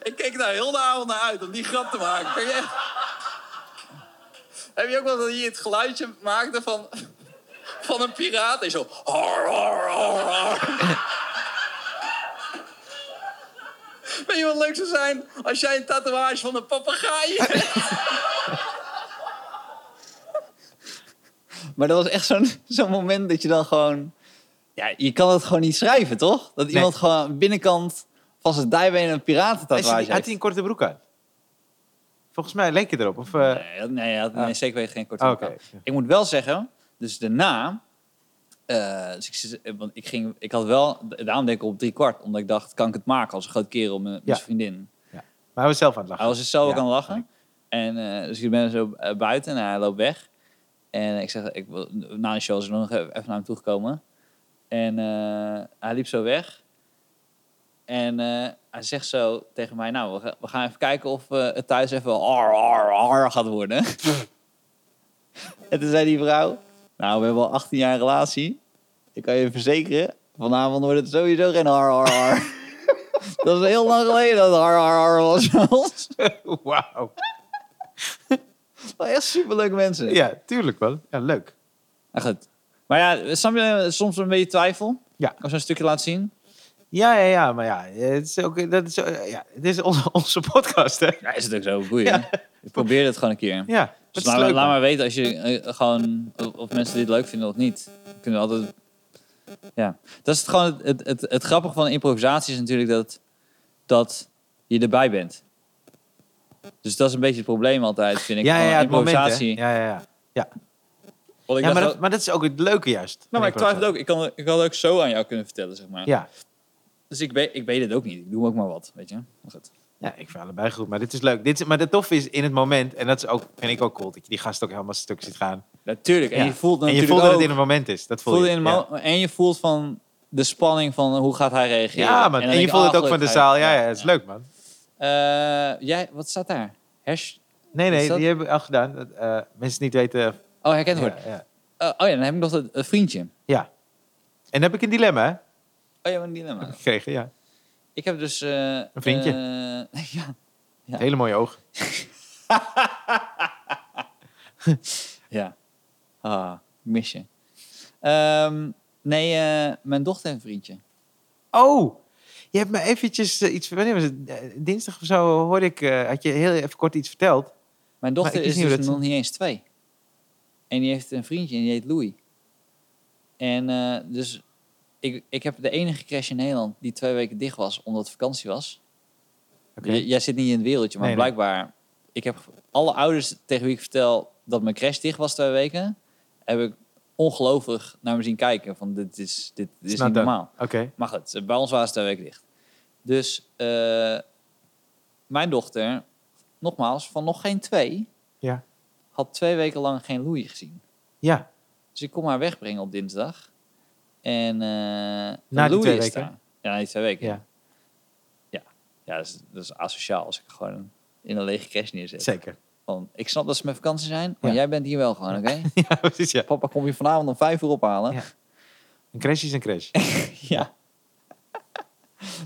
C: Ik keek daar heel de avond naar uit om die grap te maken. Kan je echt- Heb je ook wel dat je het geluidje maakte van, van een piraat? En zo... Har, har, har, har. Weet je wat leuk zou zijn? Als jij een tatoeage van een papegaai hebt.
B: Maar dat was echt zo'n zo'n moment dat je dan gewoon... Ja, je kan het gewoon niet schrijven, toch? Dat iemand gewoon aan de binnenkant van zijn dijbeen een
A: Hij
B: piratentatoeage
A: ziet-
B: heeft.
A: Had hij een korte broek aan? Volgens mij leek je erop. Of, eh,
B: Nee, nee, ja, nee, zeker weet geen korte
A: Ah,
B: broek
A: oké.
B: aan. Ik moet wel zeggen, dus daarna... eh, dus ik, zit- eh, want ik, ging, ik had wel, daarom denk ik op drie kwart, omdat ik dacht, kan ik het maken als een groot kerel met, met
A: Ja.
B: zijn vriendin?
A: maar hij was zelf aan het lachen.
B: Hij was dus zo ook
A: Ja,
B: aan het lachen. En eh, dus ik ben zo eh, buiten en hij loopt weg. En ik zeg, ik, wil- na de show is er nog even naar hem toegekomen. En eh, hij liep zo weg. En eh, hij zegt zo tegen mij, nou, we, ga- we gaan even kijken of eh, het thuis even ar, ar, ar gaat worden. *laughs* en toen zei die vrouw, nou, we hebben al 18 jaar relatie. Ik kan je verzekeren, vanavond wordt het sowieso geen ar, ar, ar. *laughs* dat is heel lang geleden dat ar, ar, ar was bij ons.
A: *laughs* Wauw.
B: Wel echt Oh superleuke mensen.
A: Ja, tuurlijk wel. Ja, leuk.
B: Nou, goed. Maar ja, snap je, soms een beetje twijfel.
A: Ja.
B: Als je een stukje laat zien.
A: Ja, ja, ja. Maar ja, het is ook... Dat is, eh, ja, dit is onze, *laughs* onze podcast, hè?
B: Ja, is het ook zo. Goeie.
A: Ja.
B: Ik probeer het gewoon een keer.
A: Ja, dat
B: Dus
A: is
B: laat,
A: leuk.
B: laat
A: man.
B: maar weten als je eh, gewoon, of, of mensen dit leuk vinden of niet. Kunnen we altijd... Ja. Dat is het gewoon het, het, het, het grappige van improvisatie is natuurlijk dat, dat je erbij bent. Dus dat is een beetje het probleem altijd, vind ik.
A: Ja, ja,
B: Gewoon
A: ja, het moment, hè?
B: improvisatie.
A: Ja, ja, ja.
B: Want ik
A: ja maar,
B: dacht
A: dat, maar dat is ook het leuke juist.
B: ook- nou, maar ik twijfel ook. Ik, kan, ik had ook zo aan jou kunnen vertellen, zeg maar.
A: Ja.
B: Dus ik weet, ik weet het ook niet. Ik doe ook maar wat, weet je. Maar goed.
A: ja, ik vind allebei goed. Maar dit is leuk. Dit is, maar het tof is in het moment, en dat is ook, vind ik ook cool, dat je die gast ook helemaal stuk ziet gaan.
B: Natuurlijk. En
A: Ja.
B: je voelt
A: en je
B: natuurlijk
A: voelt dat
B: ook-
A: het in het moment is. Dat voel
B: voelde
A: je.
B: in
A: ja.
B: de mo- En je voelt van de spanning van eh, hoe gaat hij reageren.
A: Ja, man.
B: dan
A: En,
B: denk
A: je
B: ik,
A: voelt het
B: ah,
A: ook van de
B: gelukkig,
A: zaal.
B: hij-
A: Ja, ja, het is leuk, man.
B: Eh, jij, wat staat daar? Hash?
A: Nee,
B: Is
A: nee,
B: dat-
A: die hebben we al gedaan. Dat, eh, mensen niet weten... eh,
B: Oh, herkend
A: ja,
B: worden.
A: ja.
B: Eh, oh ja, dan heb ik nog dat eh, vriendje.
A: ja. En dan heb ik een dilemma hè,
B: Oh ja, wat een dilemma.
A: gekregen, ja.
B: Ik heb dus... eh,
A: Een vriendje.
B: eh, *laughs* ja. Ja.
A: Hele mooie oog.
B: Ja. Ah, ik mis je. Ehm, nee, eh, mijn dochter heeft een vriendje.
A: Oh, je hebt me eventjes eh, iets... Wanneer was het? Eh, Dinsdag of zo hoorde ik... eh, had je heel even kort iets verteld.
B: Mijn
A: Maar
B: dochter
A: ik wist
B: is
A: niet hoe
B: dus
A: dat-
B: nog niet eens twee. En die heeft een vriendje en die heet Louis. En eh, dus ik, ik heb de enige crash in Nederland die twee weken dicht was omdat het vakantie was.
A: Oké.
B: J- jij zit niet in het wereldje, maar
A: Nee, nee.
B: blijkbaar. Ik heb alle ouders tegen wie ik vertel dat mijn crash dicht was twee weken, heb ik ongelooflijk naar me zien kijken. Van dit is, dit, dit is
A: not
B: niet
A: done.
B: normaal.
A: Oké.
B: Maar goed, bij ons waren ze twee weken dicht. Dus eh, mijn dochter, nogmaals, van nog geen twee,
A: Ja.
B: had twee weken lang geen Louis gezien.
A: Ja.
B: Dus ik kom haar wegbrengen op dinsdag. En eh en
A: die
B: Louis
A: twee
B: is
A: weken?
B: daar. Ja, na die twee weken.
A: Ja.
B: Ja, ja. ja dat, is, dat is asociaal als ik gewoon in een lege crash neerzet.
A: Zeker. *laughs*
B: Van, ik snap dat ze met vakantie zijn, maar
A: Ja.
B: jij bent hier wel gewoon, oké? *laughs*
A: Ja, precies, ja.
B: Papa kom je vanavond om vijf uur ophalen.
A: Ja. Een crash is een crash.
B: *laughs* Ja.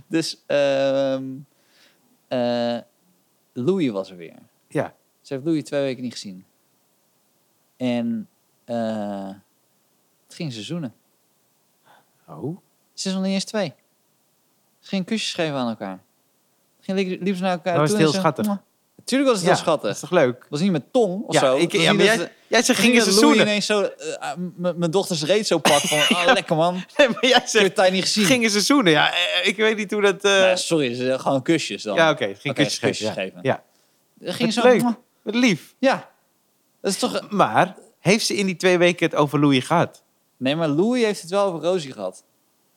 B: dus ehm, eh, Louis was er weer.
A: Ja.
B: Ze heeft Louis twee weken niet gezien. En eh het ging ze zoenen.
A: Oh.
B: Ze is nog niet eens twee. Ze ging kusjes geven aan elkaar. Ze Ging liep, liep ze naar elkaar
A: Nou,
B: toe
A: is het
B: en
A: heel
B: ze-
A: schattig.
B: "Mwah." Tuurlijk was het
A: Ja,
B: wel schattig.
A: Dat is toch leuk?
B: was niet met tong of
A: ja,
B: zo.
A: ik,
B: Het was
A: ja,
B: niet
A: maar
B: dat
A: jij, jij zegt,
B: het was niet
A: gingen ze
B: dat Louis
A: zoenen?
B: ineens zo... eh, eh, m- mijn dochters reet zo pak
A: *laughs*
B: van... ah, lekker man.
A: Nee, *laughs* maar jij
B: Ik heb
A: zegt,
B: tijd niet gezien.
A: gingen ze zoenen? Ja, eh, ik weet niet hoe dat... eh,
B: Nee, sorry, ze- gewoon kusjes dan.
A: ja, oké. ging
B: Oké,
A: kusjes geven.
B: kusjes
A: ja.
B: geven.
A: Ja,
B: Dat ging zo...
A: Wat leuk. Wat lief.
B: Ja. Dat is toch...
A: Maar heeft ze in die twee weken het over Louis gehad?
B: Nee, maar Louis heeft het wel over Rosie gehad.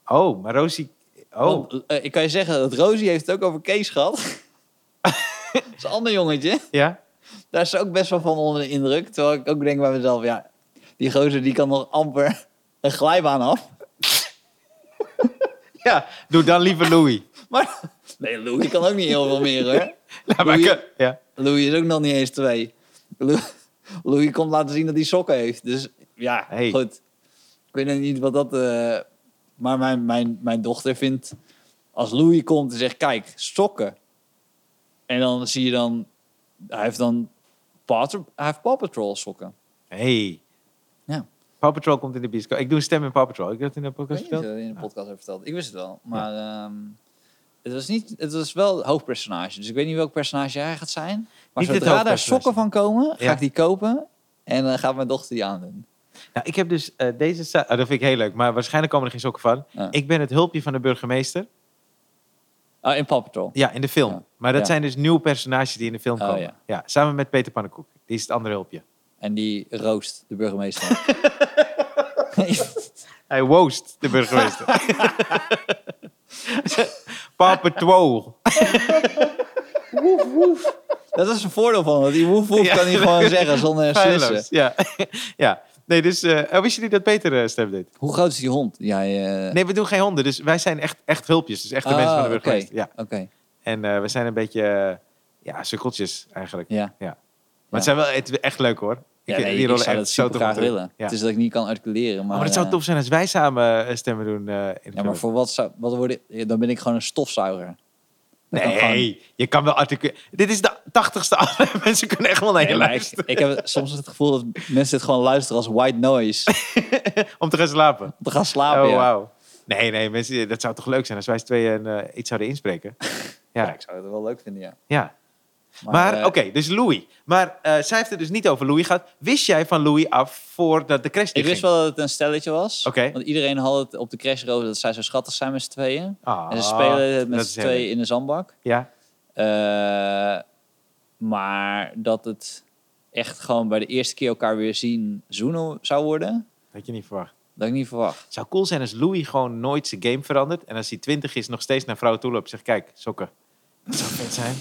A: Oh, maar Rosie... Oh,
B: Want, eh, ik kan je zeggen dat Rosie heeft het ook over Kees gehad.
A: *laughs*
B: dat is een ander jongetje.
A: ja?
B: Daar is ze ook best wel van onder de indruk. Terwijl ik ook denk bij mezelf, ja... Die gozer die kan nog amper een glijbaan af.
A: Ja, doe dan liever
B: *laughs*
A: Louis.
B: Maar... Nee, Louis kan ook niet heel veel meer, hoor.
A: Nou, maar
B: Louis-
A: ik- *laughs* ja.
B: Louis is ook nog niet eens twee. Lou- Louis komt laten zien dat hij sokken heeft. Dus ja,
A: Hey.
B: goed. Ik weet nog niet wat dat... eh, maar mijn, mijn, mijn dochter vindt... Als Louis komt en zegt, kijk, sokken. En dan zie je dan... Hij heeft dan Paw, hij heeft Paw Patrol sokken.
A: Hey.
B: Ja.
A: Paw Patrol komt in de bioscoop. Ik doe een stem in Paw Patrol. Heb Ik dat in de
B: Ik weet
A: podcast
B: niet of
A: verteld.
B: je dat in de podcast hebt verteld. Ik wist het wel. Maar ehm, het, was niet, het was wel het hoofdpersonage. Dus ik weet niet welk personage hij gaat zijn. Maar
A: Niet het
B: zodra daar
A: hoofdpersonage.
B: sokken van komen, ga
A: Ja.
B: ik die kopen. En dan gaat mijn dochter die aandoen.
A: Nou, ik heb dus eh, deze... za- Ah, dat vind ik heel leuk, maar waarschijnlijk komen er geen sokken van.
B: Ja.
A: Ik ben het hulpje van de burgemeester.
B: Ah, in Paw Patrol.
A: Ja, in de film.
B: Ja.
A: Maar dat
B: Ja.
A: zijn dus nieuwe personages die in de film
B: Oh,
A: komen. ja.
B: ja.
A: samen met Peter Pannenkoek. Die is het andere hulpje.
B: En die roost de burgemeester. *laughs*
A: Hij woost de
B: *laughs*
A: burgemeester. Paw Patrol.
B: dat is een voordeel van. Want die woef woef
A: Ja.
B: kan hij
A: *laughs*
B: gewoon zeggen zonder
A: Feilloos,
B: sussen.
A: Ja. *laughs* ja. Nee, dus... eh, oh, wist je niet dat Peter eh, stem deed?
B: Hoe groot is die hond? Ja, eh
A: Nee, we doen geen honden. Dus wij zijn echt, echt hulpjes. Dus echt de
B: Ah,
A: mensen van de
B: oké.
A: burgemeester. Ja.
B: Oké,
A: En eh, we zijn een beetje, eh, ja, sukkeltjes eigenlijk.
B: ja.
A: Maar het zijn wel het, echt leuk hoor.
B: ja
A: vind
B: nee,
A: eh, die
B: ik
A: rollen
B: zou
A: echt
B: dat super
A: tof
B: graag
A: om te doen.
B: willen.
A: Ja.
B: Het is dat ik niet kan articuleren. Maar,
A: Oh, maar het zou
B: eh,
A: tof zijn als wij samen eh, stemmen doen eh, in de
B: Ja, maar
A: film.
B: voor wat zou... Wat word ik, ja, dan ben ik gewoon een stofzuiger. Dan kan
A: Nee,
B: gewoon-
A: je kan wel articuleren. Dit is de tachtigste *laughs* aflevering. Mensen kunnen echt wel naar je
B: Nee, maar ik,
A: luisteren.
B: ik heb soms het gevoel dat mensen dit gewoon luisteren als white noise.
A: Om te gaan slapen.
B: Om te gaan slapen.
A: Oh,
B: Ah, ja.
A: wauw. Nee, nee, mensen, dat zou toch leuk zijn als wij z'n tweeën eh, iets zouden inspreken.
B: *laughs* Ja,
A: Ja,
B: ik zou het wel leuk vinden, ja.
A: ja. Maar
B: eh,
A: oké, dus Louis. Maar eh, zij heeft het dus niet over Louis gehad. Wist jij van Louis af voordat de crash
B: Ik wist
A: dichtging?
B: wel dat het een stelletje was.
A: Oké.
B: Want iedereen had het op de crash road dat zij zo schattig zijn met z'n tweeën.
A: Ah,
B: en ze spelen het
A: dat
B: met
A: is
B: z'n
A: heel
B: tweeën
A: leuk.
B: in de zandbak.
A: Ja,
B: Eh, maar dat het echt gewoon bij de eerste keer elkaar weer zien zoenen zou worden,
A: had je niet verwacht.
B: dat had ik niet verwacht.
A: Het zou cool zijn als Louis gewoon nooit zijn game verandert. En als hij twintig is, nog steeds naar vrouwen toe loopt. Zegt, kijk, sokken. Dat zou vet zijn.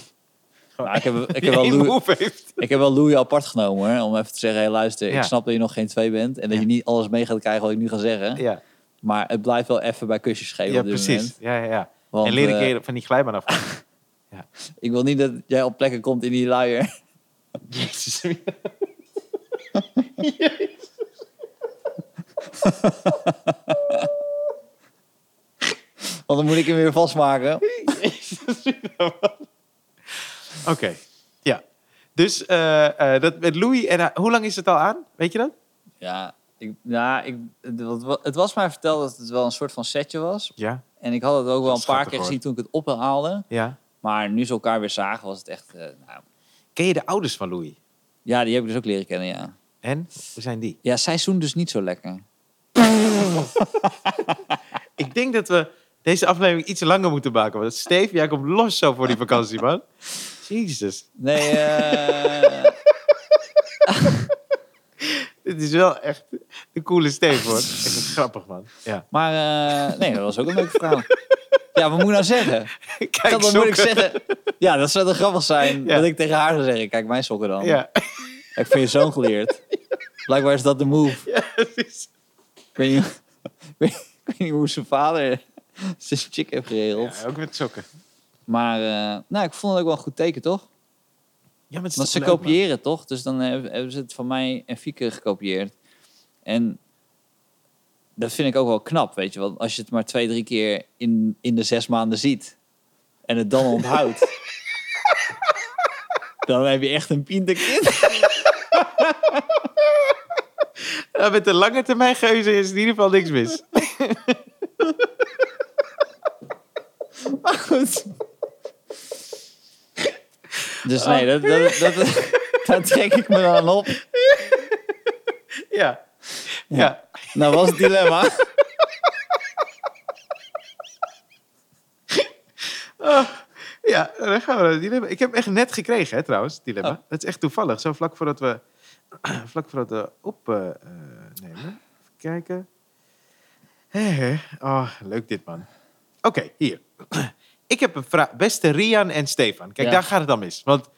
B: Maar ik, heb, *laughs* ik,
A: Die *laughs*
B: heb wel
A: één
B: Louis,
A: move
B: *laughs*
A: heeft.
B: ik heb wel Louis apart genomen hoor, om even te zeggen, hey, luister,
A: Ja.
B: ik snap dat je nog geen twee bent en dat
A: Ja.
B: je niet alles mee gaat krijgen wat ik nu ga zeggen.
A: Ja,
B: Maar het blijft wel even bij kusjes geven
A: ja
B: op dit
A: precies.
B: moment.
A: Ja, ja, ja.
B: Want,
A: en leer een
B: eh,
A: keer van die glijbaan af. *laughs*
B: Ik wil niet dat jij op plekken komt in die luier. *laughs*
A: Jezus.
B: Want dan moet ik hem weer vastmaken.
A: Oké, ja. Dus eh, eh, dat met Louis. En hij- hoe lang is het al aan? Weet je dat?
B: Ja, ik, nou, ik, het wa- het was mij verteld dat het wel een soort van setje was.
A: Ja,
B: En ik had het ook wel een paar
A: Schattig,
B: keer
A: hoor.
B: gezien toen ik het ophaalde.
A: ja.
B: Maar nu ze elkaar weer zagen, was het echt... eh, nou,
A: Ken je de ouders van Louis?
B: ja, die heb ik dus ook leren kennen, ja.
A: En? Hoe zijn die?
B: Ja, zij zoen dus niet zo lekker.
A: Ik denk dat we deze aflevering iets langer moeten maken. Want Steve, jij komt los zo voor die vakantie, man. *laughs* Jezus.
B: Nee, eh,
A: Dit is wel echt de coole Steve, hoor. *laughs* Echt grappig, man. Ja.
B: maar eh, nee, dat was ook een leuke verhaal. Ja, wat moet ik nou zeggen?
A: *laughs* *laughs* Kijk,
B: Dat moet ik
A: sokken.
B: zeggen. Ja, dat zou toch grappig zijn
A: Ja.
B: dat ik tegen haar zou zeggen. Kijk, mijn sokken dan.
A: Ja, *laughs*
B: Ik vind je zoon geleerd. Blijkbaar is dat de move.
A: precies.
B: Ik weet niet, *laughs* ik weet, ik weet niet hoe zijn vader zijn chick heeft geregeld.
A: Ja, ook met sokken.
B: Maar eh, nou, ik vond het ook wel een goed teken, toch?
A: Ja, maar het is
B: Want
A: toch
B: ze
A: leuk, man.
B: kopiëren toch? Dus dan hebben hebben ze het van mij en Fieke gekopieerd. En dat vind ik ook wel knap, weet je. Want als je het maar twee, drie keer in, in de zes maanden ziet en het dan *laughs* onthoudt, dan heb je echt een pintekind.
A: Ja, met de lange termijn geuze is in ieder geval niks mis.
B: Maar goed. Dus nee, dat, dat, dat, daar trek ik me dan op.
A: Ja. Ja.
B: Nou, was het dilemma.
A: Ja, dan gaan we naar het dilemma. Ik heb hem echt net gekregen, hè, trouwens, het dilemma.
B: Oh.
A: Dat is echt toevallig. Zo vlak voordat we, *clears throat* vlak voordat we opnemen. nemen. Even kijken. Hè, hè. Oh, leuk dit, man. Oké, hier. *clears throat* Ik heb een vraag. Beste Rian en Stefan. Kijk,
B: Ja.
A: daar gaat het dan mis. Want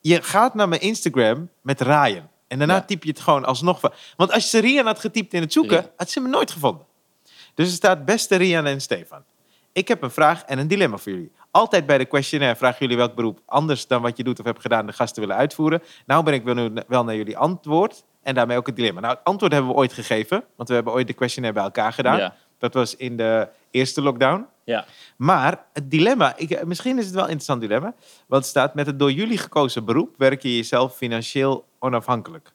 A: je gaat naar mijn Instagram met Ryan. En daarna
B: Ja.
A: typ je het gewoon alsnog. van- Want als je Rian had getypt in het zoeken,
B: Ja.
A: had ze me nooit gevonden. Dus er staat beste Rian en Stefan. Ik heb een vraag en een dilemma voor jullie. Altijd bij de questionnaire vragen jullie welk beroep anders dan wat je doet of hebt gedaan de gasten willen uitvoeren. Nou ben ik wel nu- wel naar jullie antwoord en daarmee ook het dilemma. Nou, het antwoord hebben we ooit gegeven, want we hebben ooit de questionnaire bij elkaar gedaan.
B: Ja.
A: Dat was in de eerste lockdown.
B: Ja.
A: Maar het dilemma, ik, misschien is het wel een interessant dilemma. Want het staat met het door jullie gekozen beroep werk je jezelf financieel onafhankelijk.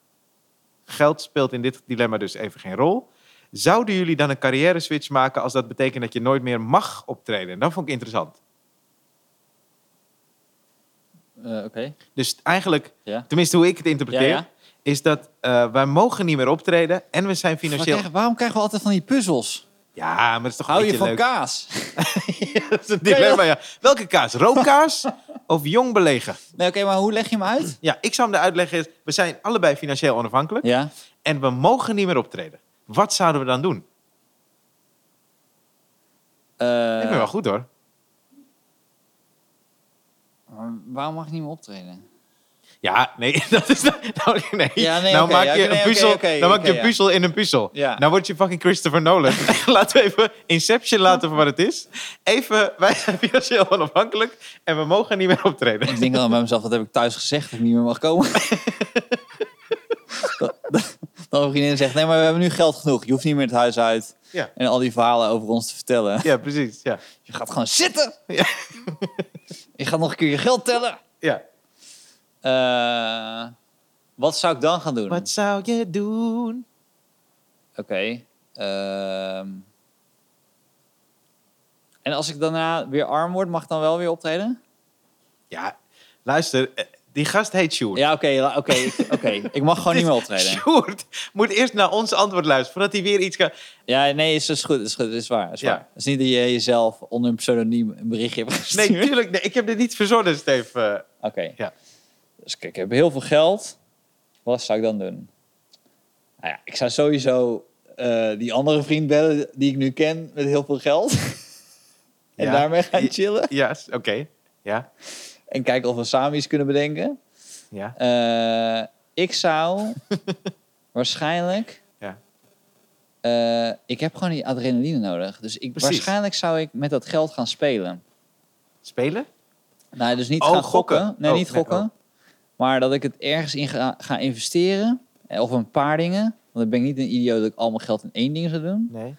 A: Geld speelt in dit dilemma dus even geen rol. Zouden jullie dan een carrière switch maken als dat betekent dat je nooit meer mag optreden? En dat vond ik interessant.
B: Eh, Oké.
A: Dus eigenlijk,
B: Ja.
A: tenminste hoe ik het interpreteer,
B: Ja, ja.
A: is dat eh, wij mogen niet meer optreden en we zijn financieel.
B: Maar krijg- waarom krijgen we altijd van die puzzels?
A: Ja, maar het is toch
B: Hou
A: een
B: je
A: beetje
B: van
A: leuk.
B: kaas?
A: Ja, *laughs* dat is een dilemma, ja. Welke kaas?
B: *laughs*
A: Roomkaas of jong belegen?
B: Nee, oké, maar hoe leg je hem uit?
A: Ja, ik zou hem de uitleg is, we zijn allebei financieel onafhankelijk.
B: Ja.
A: en we mogen niet meer optreden. Wat zouden we dan doen?
B: Eh,
A: ik ben wel goed hoor.
B: maar waarom mag ik niet meer optreden?
A: Ja, nee, *laughs* dat is nou, nou, nee.
B: Ja, nee,
A: nou
B: oké,
A: maak
B: ja,
A: je
B: oké,
A: een
B: oké,
A: puzzel,
B: oké,
A: dan maak
B: oké,
A: je een
B: ja.
A: puzzel in een puzzel.
B: Ja.
A: Nou word je fucking Christopher
B: *laughs*
A: Nolan. *laughs* Laten we even Inception laten voor wat het is. Even, wij zijn financieel onafhankelijk en we mogen niet meer optreden.
B: *laughs* Ik denk dan bij mezelf, wat heb ik thuis gezegd dat ik niet meer mag komen? *laughs* Dat- dat- Dan een vriendin zegt, nee, maar we hebben nu geld genoeg. Je hoeft niet meer het huis uit.
A: Ja.
B: En al die verhalen over ons te vertellen.
A: Ja, precies. Ja,
B: Je gaat gewoon zitten. *laughs*
A: Ja.
B: Je gaat nog een keer je geld tellen.
A: ja.
B: Eh, wat zou ik dan gaan doen?
A: Wat zou je doen?
B: Oké. ehm. en als ik daarna weer arm word, mag ik dan wel weer optreden?
A: Ja, luister, eh, die gast heet Sjoerd.
B: Ja, oké. la- oké, ik-
A: *laughs*
B: oké. Ik mag gewoon niet meer optreden.
A: Sjoerd moet eerst naar ons antwoord luisteren voordat hij weer iets kan...
B: Ja, nee, is, is goed. Is goed. Is waar. Is
A: Ja.
B: waar. Het is niet dat je jezelf onder een pseudoniem een berichtje hebt gestuurd.
A: Nee, tuurlijk, nee, ik heb dit niet verzonnen, Steve. Eh,
B: Oké.
A: Ja.
B: Dus kijk, ik heb heel veel geld. Wat zou ik dan doen? Nou ja, ik zou sowieso eh, die andere vriend bellen die ik nu ken met heel veel geld. *laughs* en
A: Ja.
B: daarmee gaan
A: Ja.
B: chillen.
A: Ja, s- oké. Ja,
B: En kijken of we samen iets kunnen bedenken.
A: ja.
B: Eh, ik
A: *laughs*
B: zou waarschijnlijk...
A: Ja.
B: Eh, ik heb gewoon die adrenaline nodig. Dus ik,
A: Precies.
B: waarschijnlijk zou ik met dat geld gaan spelen.
A: Spelen?
B: Nou, dus niet
A: Oh,
B: gaan gokken.
A: gokken.
B: Nee,
A: Oh,
B: niet
A: nee,
B: gokken.
A: oh.
B: Maar dat ik het ergens in ga, ga investeren. eh, Of een paar dingen. Want dan ben ik niet een idioot dat ik al mijn geld in één ding zou doen.
A: Nee.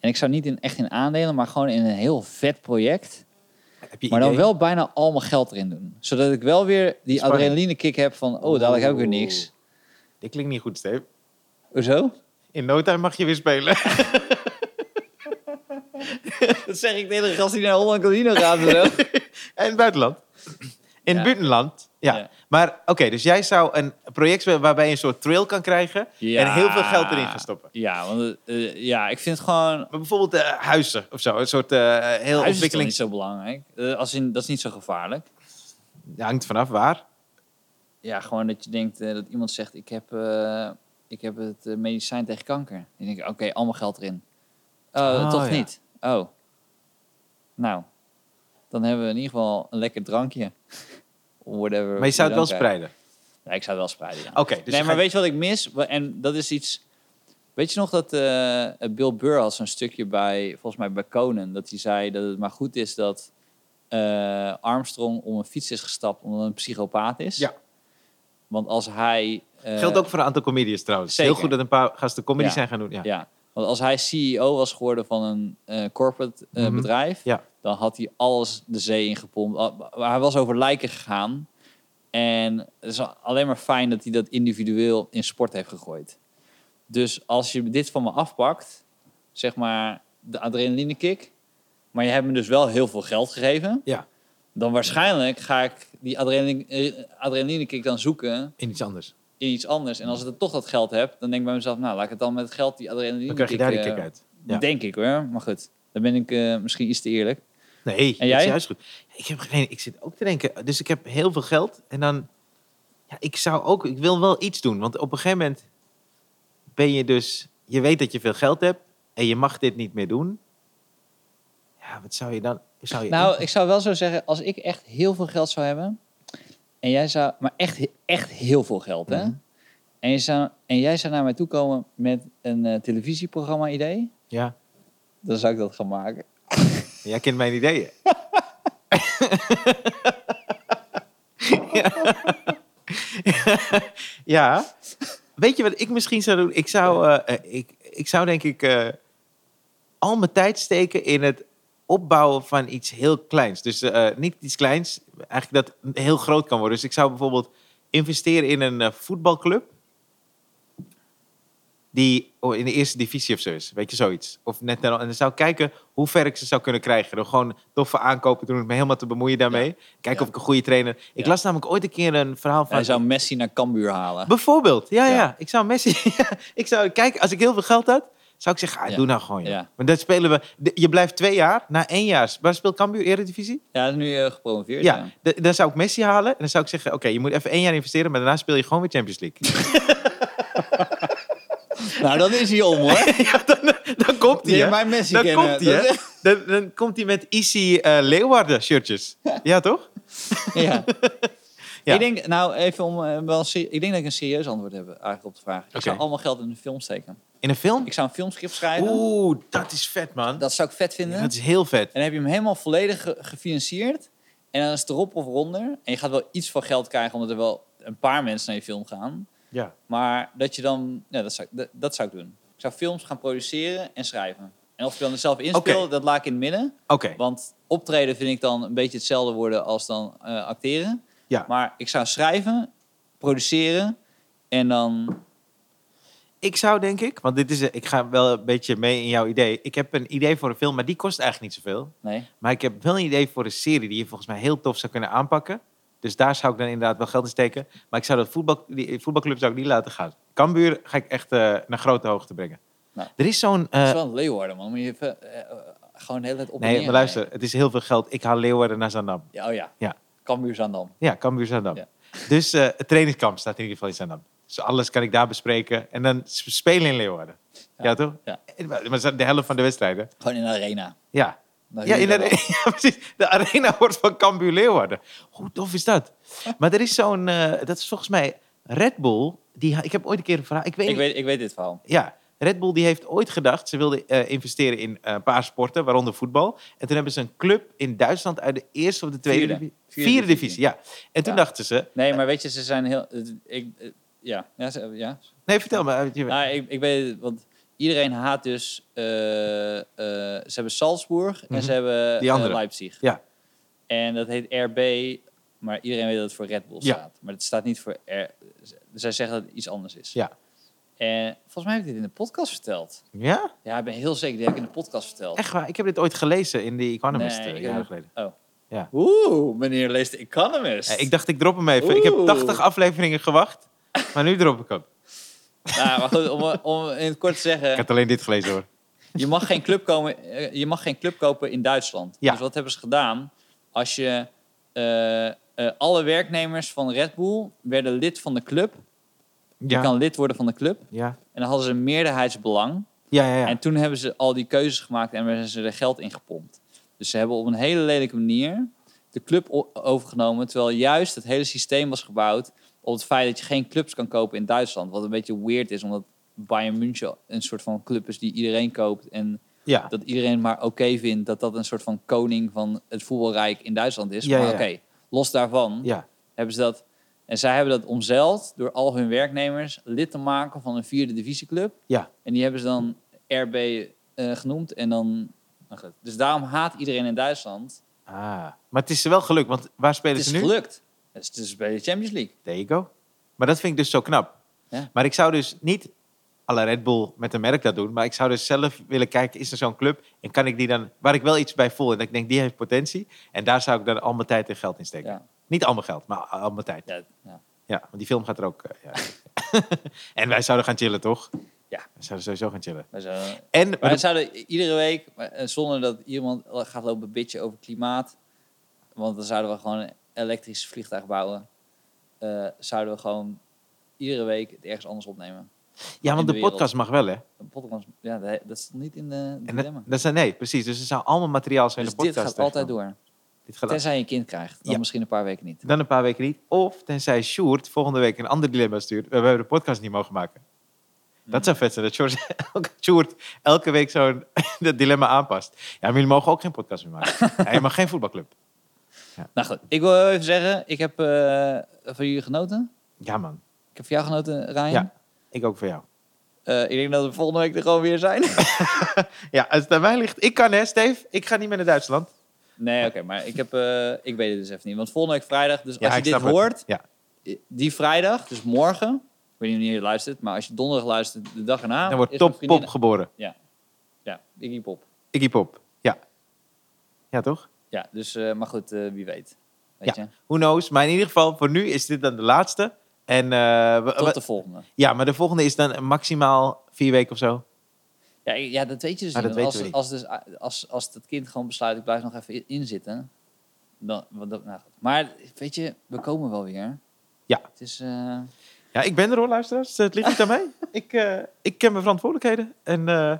B: En ik zou niet in, echt in aandelen, maar gewoon in een heel vet project.
A: Heb je
B: Maar dan
A: idee?
B: wel bijna al mijn geld erin doen. Zodat ik wel weer die
A: Spanning.
B: adrenaline kick heb van... Oh, dadelijk heb ik weer niks.
A: Dit klinkt niet goed, Steve.
B: Hoezo?
A: In no time mag je weer spelen. *laughs*
B: Dat zeg ik de hele gast die naar Holland Casino gaat.
A: *laughs*
B: en zo.
A: en het buitenland. In
B: Ja.
A: het buitenland, ja.
B: Ja.
A: Maar oké, dus jij zou een project spelen waarbij je een soort trail kan krijgen... en heel veel geld erin gaan stoppen.
B: Ja, want eh, ja, ik vind het gewoon...
A: Maar bijvoorbeeld eh, huizen of zo. Een soort eh, heel
B: Huis is toch niet
A: ontwikkeling...
B: zo belangrijk. Eh, als in, dat is niet zo gevaarlijk.
A: Ja, hangt vanaf waar.
B: Ja, gewoon dat je denkt eh, dat iemand zegt: Ik heb, eh, ik heb het eh, medicijn tegen kanker. Dan denk ik: Oké, allemaal geld erin. Oh,
A: Oh,
B: toch
A: ja.
B: niet? Oh. Nou, dan hebben we in ieder geval een lekker drankje. *laughs* Whatever.
A: Maar je zou het wel spreiden.
B: Ja, ik zou het wel spreiden. Ja.
A: Oké, dus je
B: nee, maar
A: gaat-
B: weet je wat ik mis? Wa- En dat is iets. Weet je nog dat eh, Bill Burr had zo'n stukje bij, volgens mij bij Conan, dat hij zei dat het maar goed is dat eh, Armstrong om een fiets is gestapt omdat hij een psychopaat is.
A: Ja.
B: Want als hij. eh,
A: Geldt ook voor een aantal comedians trouwens.
B: zeker.
A: Heel goed dat een paar gasten comedy
B: Ja.
A: zijn gaan doen. Ja.
B: Ja. Want als hij CEO was geworden van een eh, corporate eh,
A: Mhm.
B: bedrijf,
A: Ja.
B: dan had hij alles de zee ingepompt. Al- maar Hij was over lijken gegaan. En het is alleen maar fijn dat hij dat individueel in sport heeft gegooid. Dus als je dit van me afpakt, zeg maar de adrenaline kick, maar je hebt me dus wel heel veel geld gegeven,
A: Ja.
B: dan waarschijnlijk ga ik die adrenaline, eh, adrenaline kick dan zoeken
A: in iets anders.
B: in iets anders. En als ik dan toch dat geld heb, dan denk ik bij mezelf, nou, laat ik het dan met het geld die adrenaline
A: Dan krijg je daar die kick
B: eh,
A: uit. Ja.
B: Denk ik hoor, maar goed. Dan ben ik eh, misschien iets te eerlijk.
A: Nee, dat is
B: jij?
A: juist goed. Ik heb geen, ik zit ook te denken. Dus ik heb heel veel geld en dan, ja, ik zou ook, ik wil wel iets doen, want op een gegeven moment ben je dus, je weet dat je veel geld hebt en je mag dit niet meer doen. Ja, wat zou je dan? Zou je
B: Nou, ik zou wel zo zeggen, als ik echt heel veel geld zou hebben. En jij zou, maar echt, echt heel veel geld, hè?
A: Mhm.
B: En, je zou, en jij zou naar mij toe komen met een eh, televisieprogramma-idee.
A: ja,
B: Dan zou ik dat gaan maken.
A: jij kent mijn ideeën. *laughs* ja. Weet je wat ik misschien zou doen? Ik zou, eh, eh, ik, ik zou denk ik eh, al mijn tijd steken in het opbouwen van iets heel kleins. Dus eh, niet iets kleins, eigenlijk dat heel groot kan worden. Dus ik zou bijvoorbeeld investeren in een eh, voetbalclub. Die oh, in de eerste divisie of zo is, weet je, zoiets. Of net daarna- en dan zou ik kijken hoe ver ik ze zou kunnen krijgen. Door gewoon toffe aankopen te doen, me helemaal te bemoeien daarmee. Kijken
B: Ja.
A: of ik een goede trainer... Ik
B: Ja.
A: las namelijk ooit een keer een verhaal van...
B: Hij zou Messi naar Cambuur halen.
A: Bijvoorbeeld, ja, ja.
B: Ja.
A: Ik zou Messi... *laughs* ik zou, kijk, als ik heel veel geld had, zou ik zeggen, ah,
B: Ja.
A: doe nou gewoon. Ja.
B: Ja.
A: Maar dat spelen we... de- je blijft twee jaar, na één jaar... Waar speelt Cambuur Eredivisie?
B: Ja, dat is nu eh, gepromoveerd.
A: Ja,
B: Ja.
A: d- dan zou ik Messi halen. En dan zou ik zeggen, oké, je moet even één jaar investeren... maar daarna speel je gewoon weer Champions
B: *laughs*
A: League.
B: *laughs* Nou, dan is hij om *laughs* hoor.
A: dan komt hij,
B: Die
A: hè?
B: mijn Messi
A: Dan
B: kennen.
A: komt hij,
B: Dat
A: hè?
B: is-
A: Dan, dan komt hij met Issy eh Leeuwarden
B: *laughs*
A: shirtjes. Ja, toch?
B: ja.
A: Ja.
B: Ik denk, nou even om eh, wel, serie- ik denk dat ik een serieus antwoord heb eh, eigenlijk op de vraag.
A: Oké.
B: Ik zou allemaal geld in een film steken.
A: In een film?
B: Ik zou een filmschrift schrijven.
A: Oeh, dat is vet, man.
B: Dat zou ik vet vinden.
A: Dat is heel vet.
B: En dan heb je hem helemaal volledig ge- gefinancierd. En dan is het erop of ronder. En je gaat wel iets van geld krijgen, omdat er wel een paar mensen naar je film gaan.
A: Ja.
B: Maar dat je dan, ja, dat, zou, ik- dat, dat zou ik doen. Ik zou films gaan produceren en schrijven. En of ik dan er zelf in speel,
A: Oké.
B: dat laat ik in het midden.
A: Oké,
B: Want optreden vind ik dan een beetje hetzelfde worden als dan eh, acteren.
A: ja.
B: Maar ik zou schrijven, produceren en dan...
A: Ik zou denk ik, want dit is, ik ga wel een beetje mee in jouw idee. Ik heb een idee voor een film, maar die kost eigenlijk niet zoveel.
B: Nee,
A: Maar ik heb wel een idee voor een serie die je volgens mij heel tof zou kunnen aanpakken. Dus daar zou ik dan inderdaad wel geld in steken. Maar ik zou dat voetbal, die voetbalclub zou ik niet laten gaan. Cambuur ga ik echt eh, naar grote hoogte brengen.
B: Nou.
A: Er is zo'n... eh,
B: dat is wel een leeuwarden, man. Moet je even, eh, eh, gewoon de hele tijd op en
A: nee,
B: neer
A: maar luister, het is heel veel geld. Ik haal Leeuwarden naar Zandam.
B: rijden. Ja, oh ja.
A: Ja.
B: Cambuur Zaandam.
A: Ja, Cambuur Zandam.
B: Ja.
A: Dus eh, het trainingskamp staat in ieder geval in Zandam. Dus alles kan ik daar bespreken. En dan s- spelen in Leeuwarden. Ja,
B: Ja.
A: toch?
B: Ja.
A: En- Maar maar de helft van de wedstrijden.
B: Gewoon in de arena.
A: Ja,
B: Dan
A: Ja,
B: huur je
A: in de,
B: dat
A: *laughs*
B: wel.
A: ja, precies. De arena wordt van Cambuur Leeuwarden. Hoe tof is dat? Maar er is zo'n... eh, dat is volgens mij Red Bull. Die, ha- ik heb ooit een keer een verhaal... Ik weet,
B: Ik
A: niet-
B: weet, ik weet dit verhaal.
A: Ja, Red Bull die heeft ooit gedacht... Ze wilden eh, investeren in eh, een paar sporten, waaronder voetbal. En toen hebben ze een club in Duitsland uit de eerste of de tweede...
B: Vierde.
A: divi- Vierde,
B: Vierde
A: divisie.
B: divisie,
A: ja. En toen
B: Ja.
A: dachten ze...
B: Nee, maar weet je, ze zijn heel... het- Ik, eh, ja, ja, ze- ja.
A: Nee, vertel me. eh, je-
B: Nou, ik, ik weet het, want iedereen haat dus... eh, eh, ze hebben Salzburg en
A: Mhm.
B: ze hebben
A: Die
B: eh,
A: andere.
B: Leipzig.
A: Ja.
B: En dat heet RB, maar iedereen weet dat het voor Red Bull
A: Ja.
B: staat. Maar het staat niet voor... R, zij zeggen dat het iets anders is.
A: Ja.
B: En volgens mij heb ik dit in de podcast verteld.
A: ja?
B: Ja, ik ben heel zeker dat ik in de podcast verteld.
A: Echt waar? Ik heb dit ooit gelezen in The Economist
B: Nee,
A: eh,
B: ik
A: jaren
B: ook.
A: geleden.
B: Oh.
A: Ja.
B: Oeh, meneer leest de Economist.
A: Eh, ik dacht, ik drop hem even. Ik heb
B: Oeh.
A: 80 afleveringen gewacht. Maar nu drop ik hem.
B: Nou, *laughs* maar goed, om, om in het kort te zeggen...
A: Ik had alleen dit gelezen hoor.
B: Je mag geen club, komen, eh, je mag geen club kopen in Duitsland.
A: Ja.
B: Dus wat hebben ze gedaan? Als je, eh, eh, alle werknemers van Red Bull werden lid van de club. Je
A: Ja.
B: kan lid worden van de club.
A: Ja.
B: En dan hadden ze een meerderheidsbelang.
A: Ja, ja, ja.
B: En toen hebben ze al die keuzes gemaakt en hebben ze er geld in gepompt. Dus ze hebben op een hele lelijke manier de club o- overgenomen. Terwijl juist het hele systeem was gebouwd op het feit dat je geen clubs kan kopen in Duitsland. Wat een beetje weird is, omdat Bayern München een soort van club is die iedereen koopt. En
A: ja.
B: dat iedereen maar oké vindt dat dat een soort van koning van het voetbalrijk in Duitsland is.
A: Ja,
B: maar
A: ja.
B: oké, los daarvan
A: ja.
B: hebben ze dat. En zij hebben dat omzeild door al hun werknemers lid te maken van een vierde divisieclub.
A: Ja.
B: En die hebben ze dan RB eh, genoemd. En dan. nou goed. Dus daarom haat iedereen in Duitsland.
A: Ah. Maar het is wel gelukt, want waar spelen
B: het is
A: ze nu?
B: gelukt. Het is dus bij de Champions League.
A: There you go. Maar dat vind ik dus zo knap.
B: Ja.
A: Maar ik zou dus niet alle Red Bull met een merk dat doen. Maar ik zou dus zelf willen kijken, is er zo'n club? En kan ik die dan, waar ik wel iets bij voel en dat ik denk, die heeft potentie. En daar zou ik dan al mijn tijd en geld in steken.
B: Ja.
A: Niet al mijn geld, maar al mijn tijd. Ja,
B: Ja, ja.
A: want die film gaat er ook. eh, ja. *laughs* en wij zouden gaan chillen, toch?
B: Ja.
A: We zouden sowieso gaan chillen.
B: Wij zouden-
A: En,
B: wij zouden i- iedere week, maar, eh, zonder dat iemand gaat lopen bitchen over klimaat, want dan zouden we gewoon een elektrisch vliegtuig bouwen, eh, zouden we gewoon iedere week het ergens anders opnemen.
A: ja,
B: in
A: want
B: de
A: de
B: wereld.
A: podcast mag wel, hè?
B: Een podcast, ja, dat dat is niet in de
A: En dat,
B: dilemma.
A: dat zijn, nee, precies. Dus er zou allemaal materiaal zijn
B: Dus
A: in de
B: dit
A: podcast.
B: gaat altijd
A: terechtkomen.
B: door.
A: Dit gaat
B: Tenzij je een kind krijgt. Dan
A: Ja.
B: misschien een paar weken niet.
A: Dan een paar weken niet. Of tenzij Sjoerd volgende week een ander dilemma stuurt. We hebben de podcast niet mogen maken. Dat
B: Hmm.
A: zou vet zijn. Dat *laughs* Sjoerd, elke- Sjoerd elke week zo'n *laughs* dat dilemma aanpast. Ja, maar jullie mogen ook geen podcast meer maken.
B: *laughs*
A: Ja, je mag geen voetbalclub.
B: Nou goed, ik wil heel even zeggen, ik heb eh, van jullie genoten.
A: Ja man,
B: Ik heb van jou genoten, Ryan.
A: Ja. ik ook voor jou.
B: Eh, ik denk dat we volgende week er gewoon weer zijn. *laughs*
A: Ja, als het aan mij ligt. Ik kan hè, Steve. Ik ga niet meer naar Duitsland.
B: nee, oké, maar ik, heb, eh, ik weet het dus even niet. Want volgende week vrijdag, dus
A: Ja,
B: als je
A: ik
B: dit
A: snap het.
B: hoort,
A: Ja.
B: die vrijdag, dus morgen, ik weet niet wanneer je luistert, maar als je donderdag luistert, de dag erna,
A: Dan wordt
B: is mijn
A: Top
B: vriendin-
A: Pop geboren.
B: Ja, Iggy Pop.
A: Iggy Pop. Ja. Ja, toch?
B: Ja, dus, eh, maar goed, eh, wie weet. Weet je?
A: Who knows? Maar in ieder geval, voor nu is dit dan de laatste. En, eh, we-
B: Tot
A: we-
B: de volgende.
A: Ja, maar de volgende is dan maximaal vier weken of zo.
B: Ja, ik- ja, dat weet je dus
A: Maar
B: niet.
A: dat
B: want
A: weten
B: als, als, dus, als, als dat kind gewoon besluit, ik blijf nog even in- inzitten. Dan, wat, dat- nou, goed. maar weet je, we komen wel weer.
A: Ja.
B: Het is, eh,
A: Ja, ik ben er hoor, luisteraars. Het ligt niet aan
B: *laughs*
A: mij. Ik, eh, ik ken mijn verantwoordelijkheden. En eh,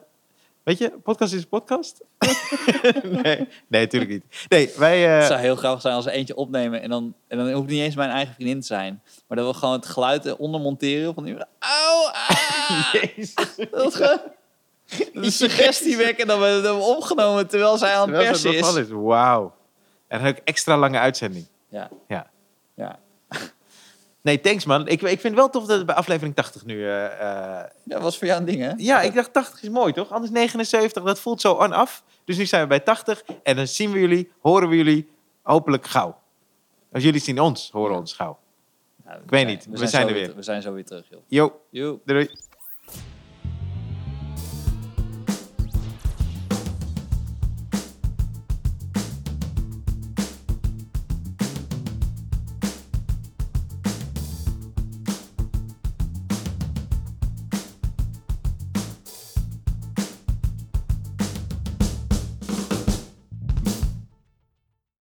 A: weet je, podcast is een
B: *laughs*
A: podcast. nee, nee, natuurlijk niet. Nee, wij...
B: het
A: eh,
B: zou heel grappig zijn als we eentje opnemen en dan, en dan hoeft het niet eens mijn eigen vriendin te zijn. Maar dat we gewoon het geluid eronder monteren van iemand. Auw!
A: *laughs*
B: ah!"
A: Jezus.
B: Dat gewoon
A: *laughs*
B: een suggestie wekken dat we het hebben opgenomen terwijl zij aan het
A: Terwijl het
B: persen
A: bevallen
B: is.
A: is. Wauw. En dan ook extra lange uitzending.
B: Ja,
A: Ja.
B: ja.
A: Nee, thanks man. Ik, ik vind het wel tof dat het bij aflevering 80 nu... eh, eh,
B: dat was voor jou een ding, hè?
A: ja, ik dacht 80 is mooi, toch? Anders 79, dat voelt zo on-af. Dus nu zijn we bij 80. En dan zien we jullie, horen we jullie, hopelijk gauw. Als jullie zien ons, horen ons gauw.
B: Nou, we
A: weet
B: zijn-
A: niet. We zijn
B: zo
A: er weer.
B: We zijn zo weer terug, joh.
A: Yo,
B: Joep.
A: doei.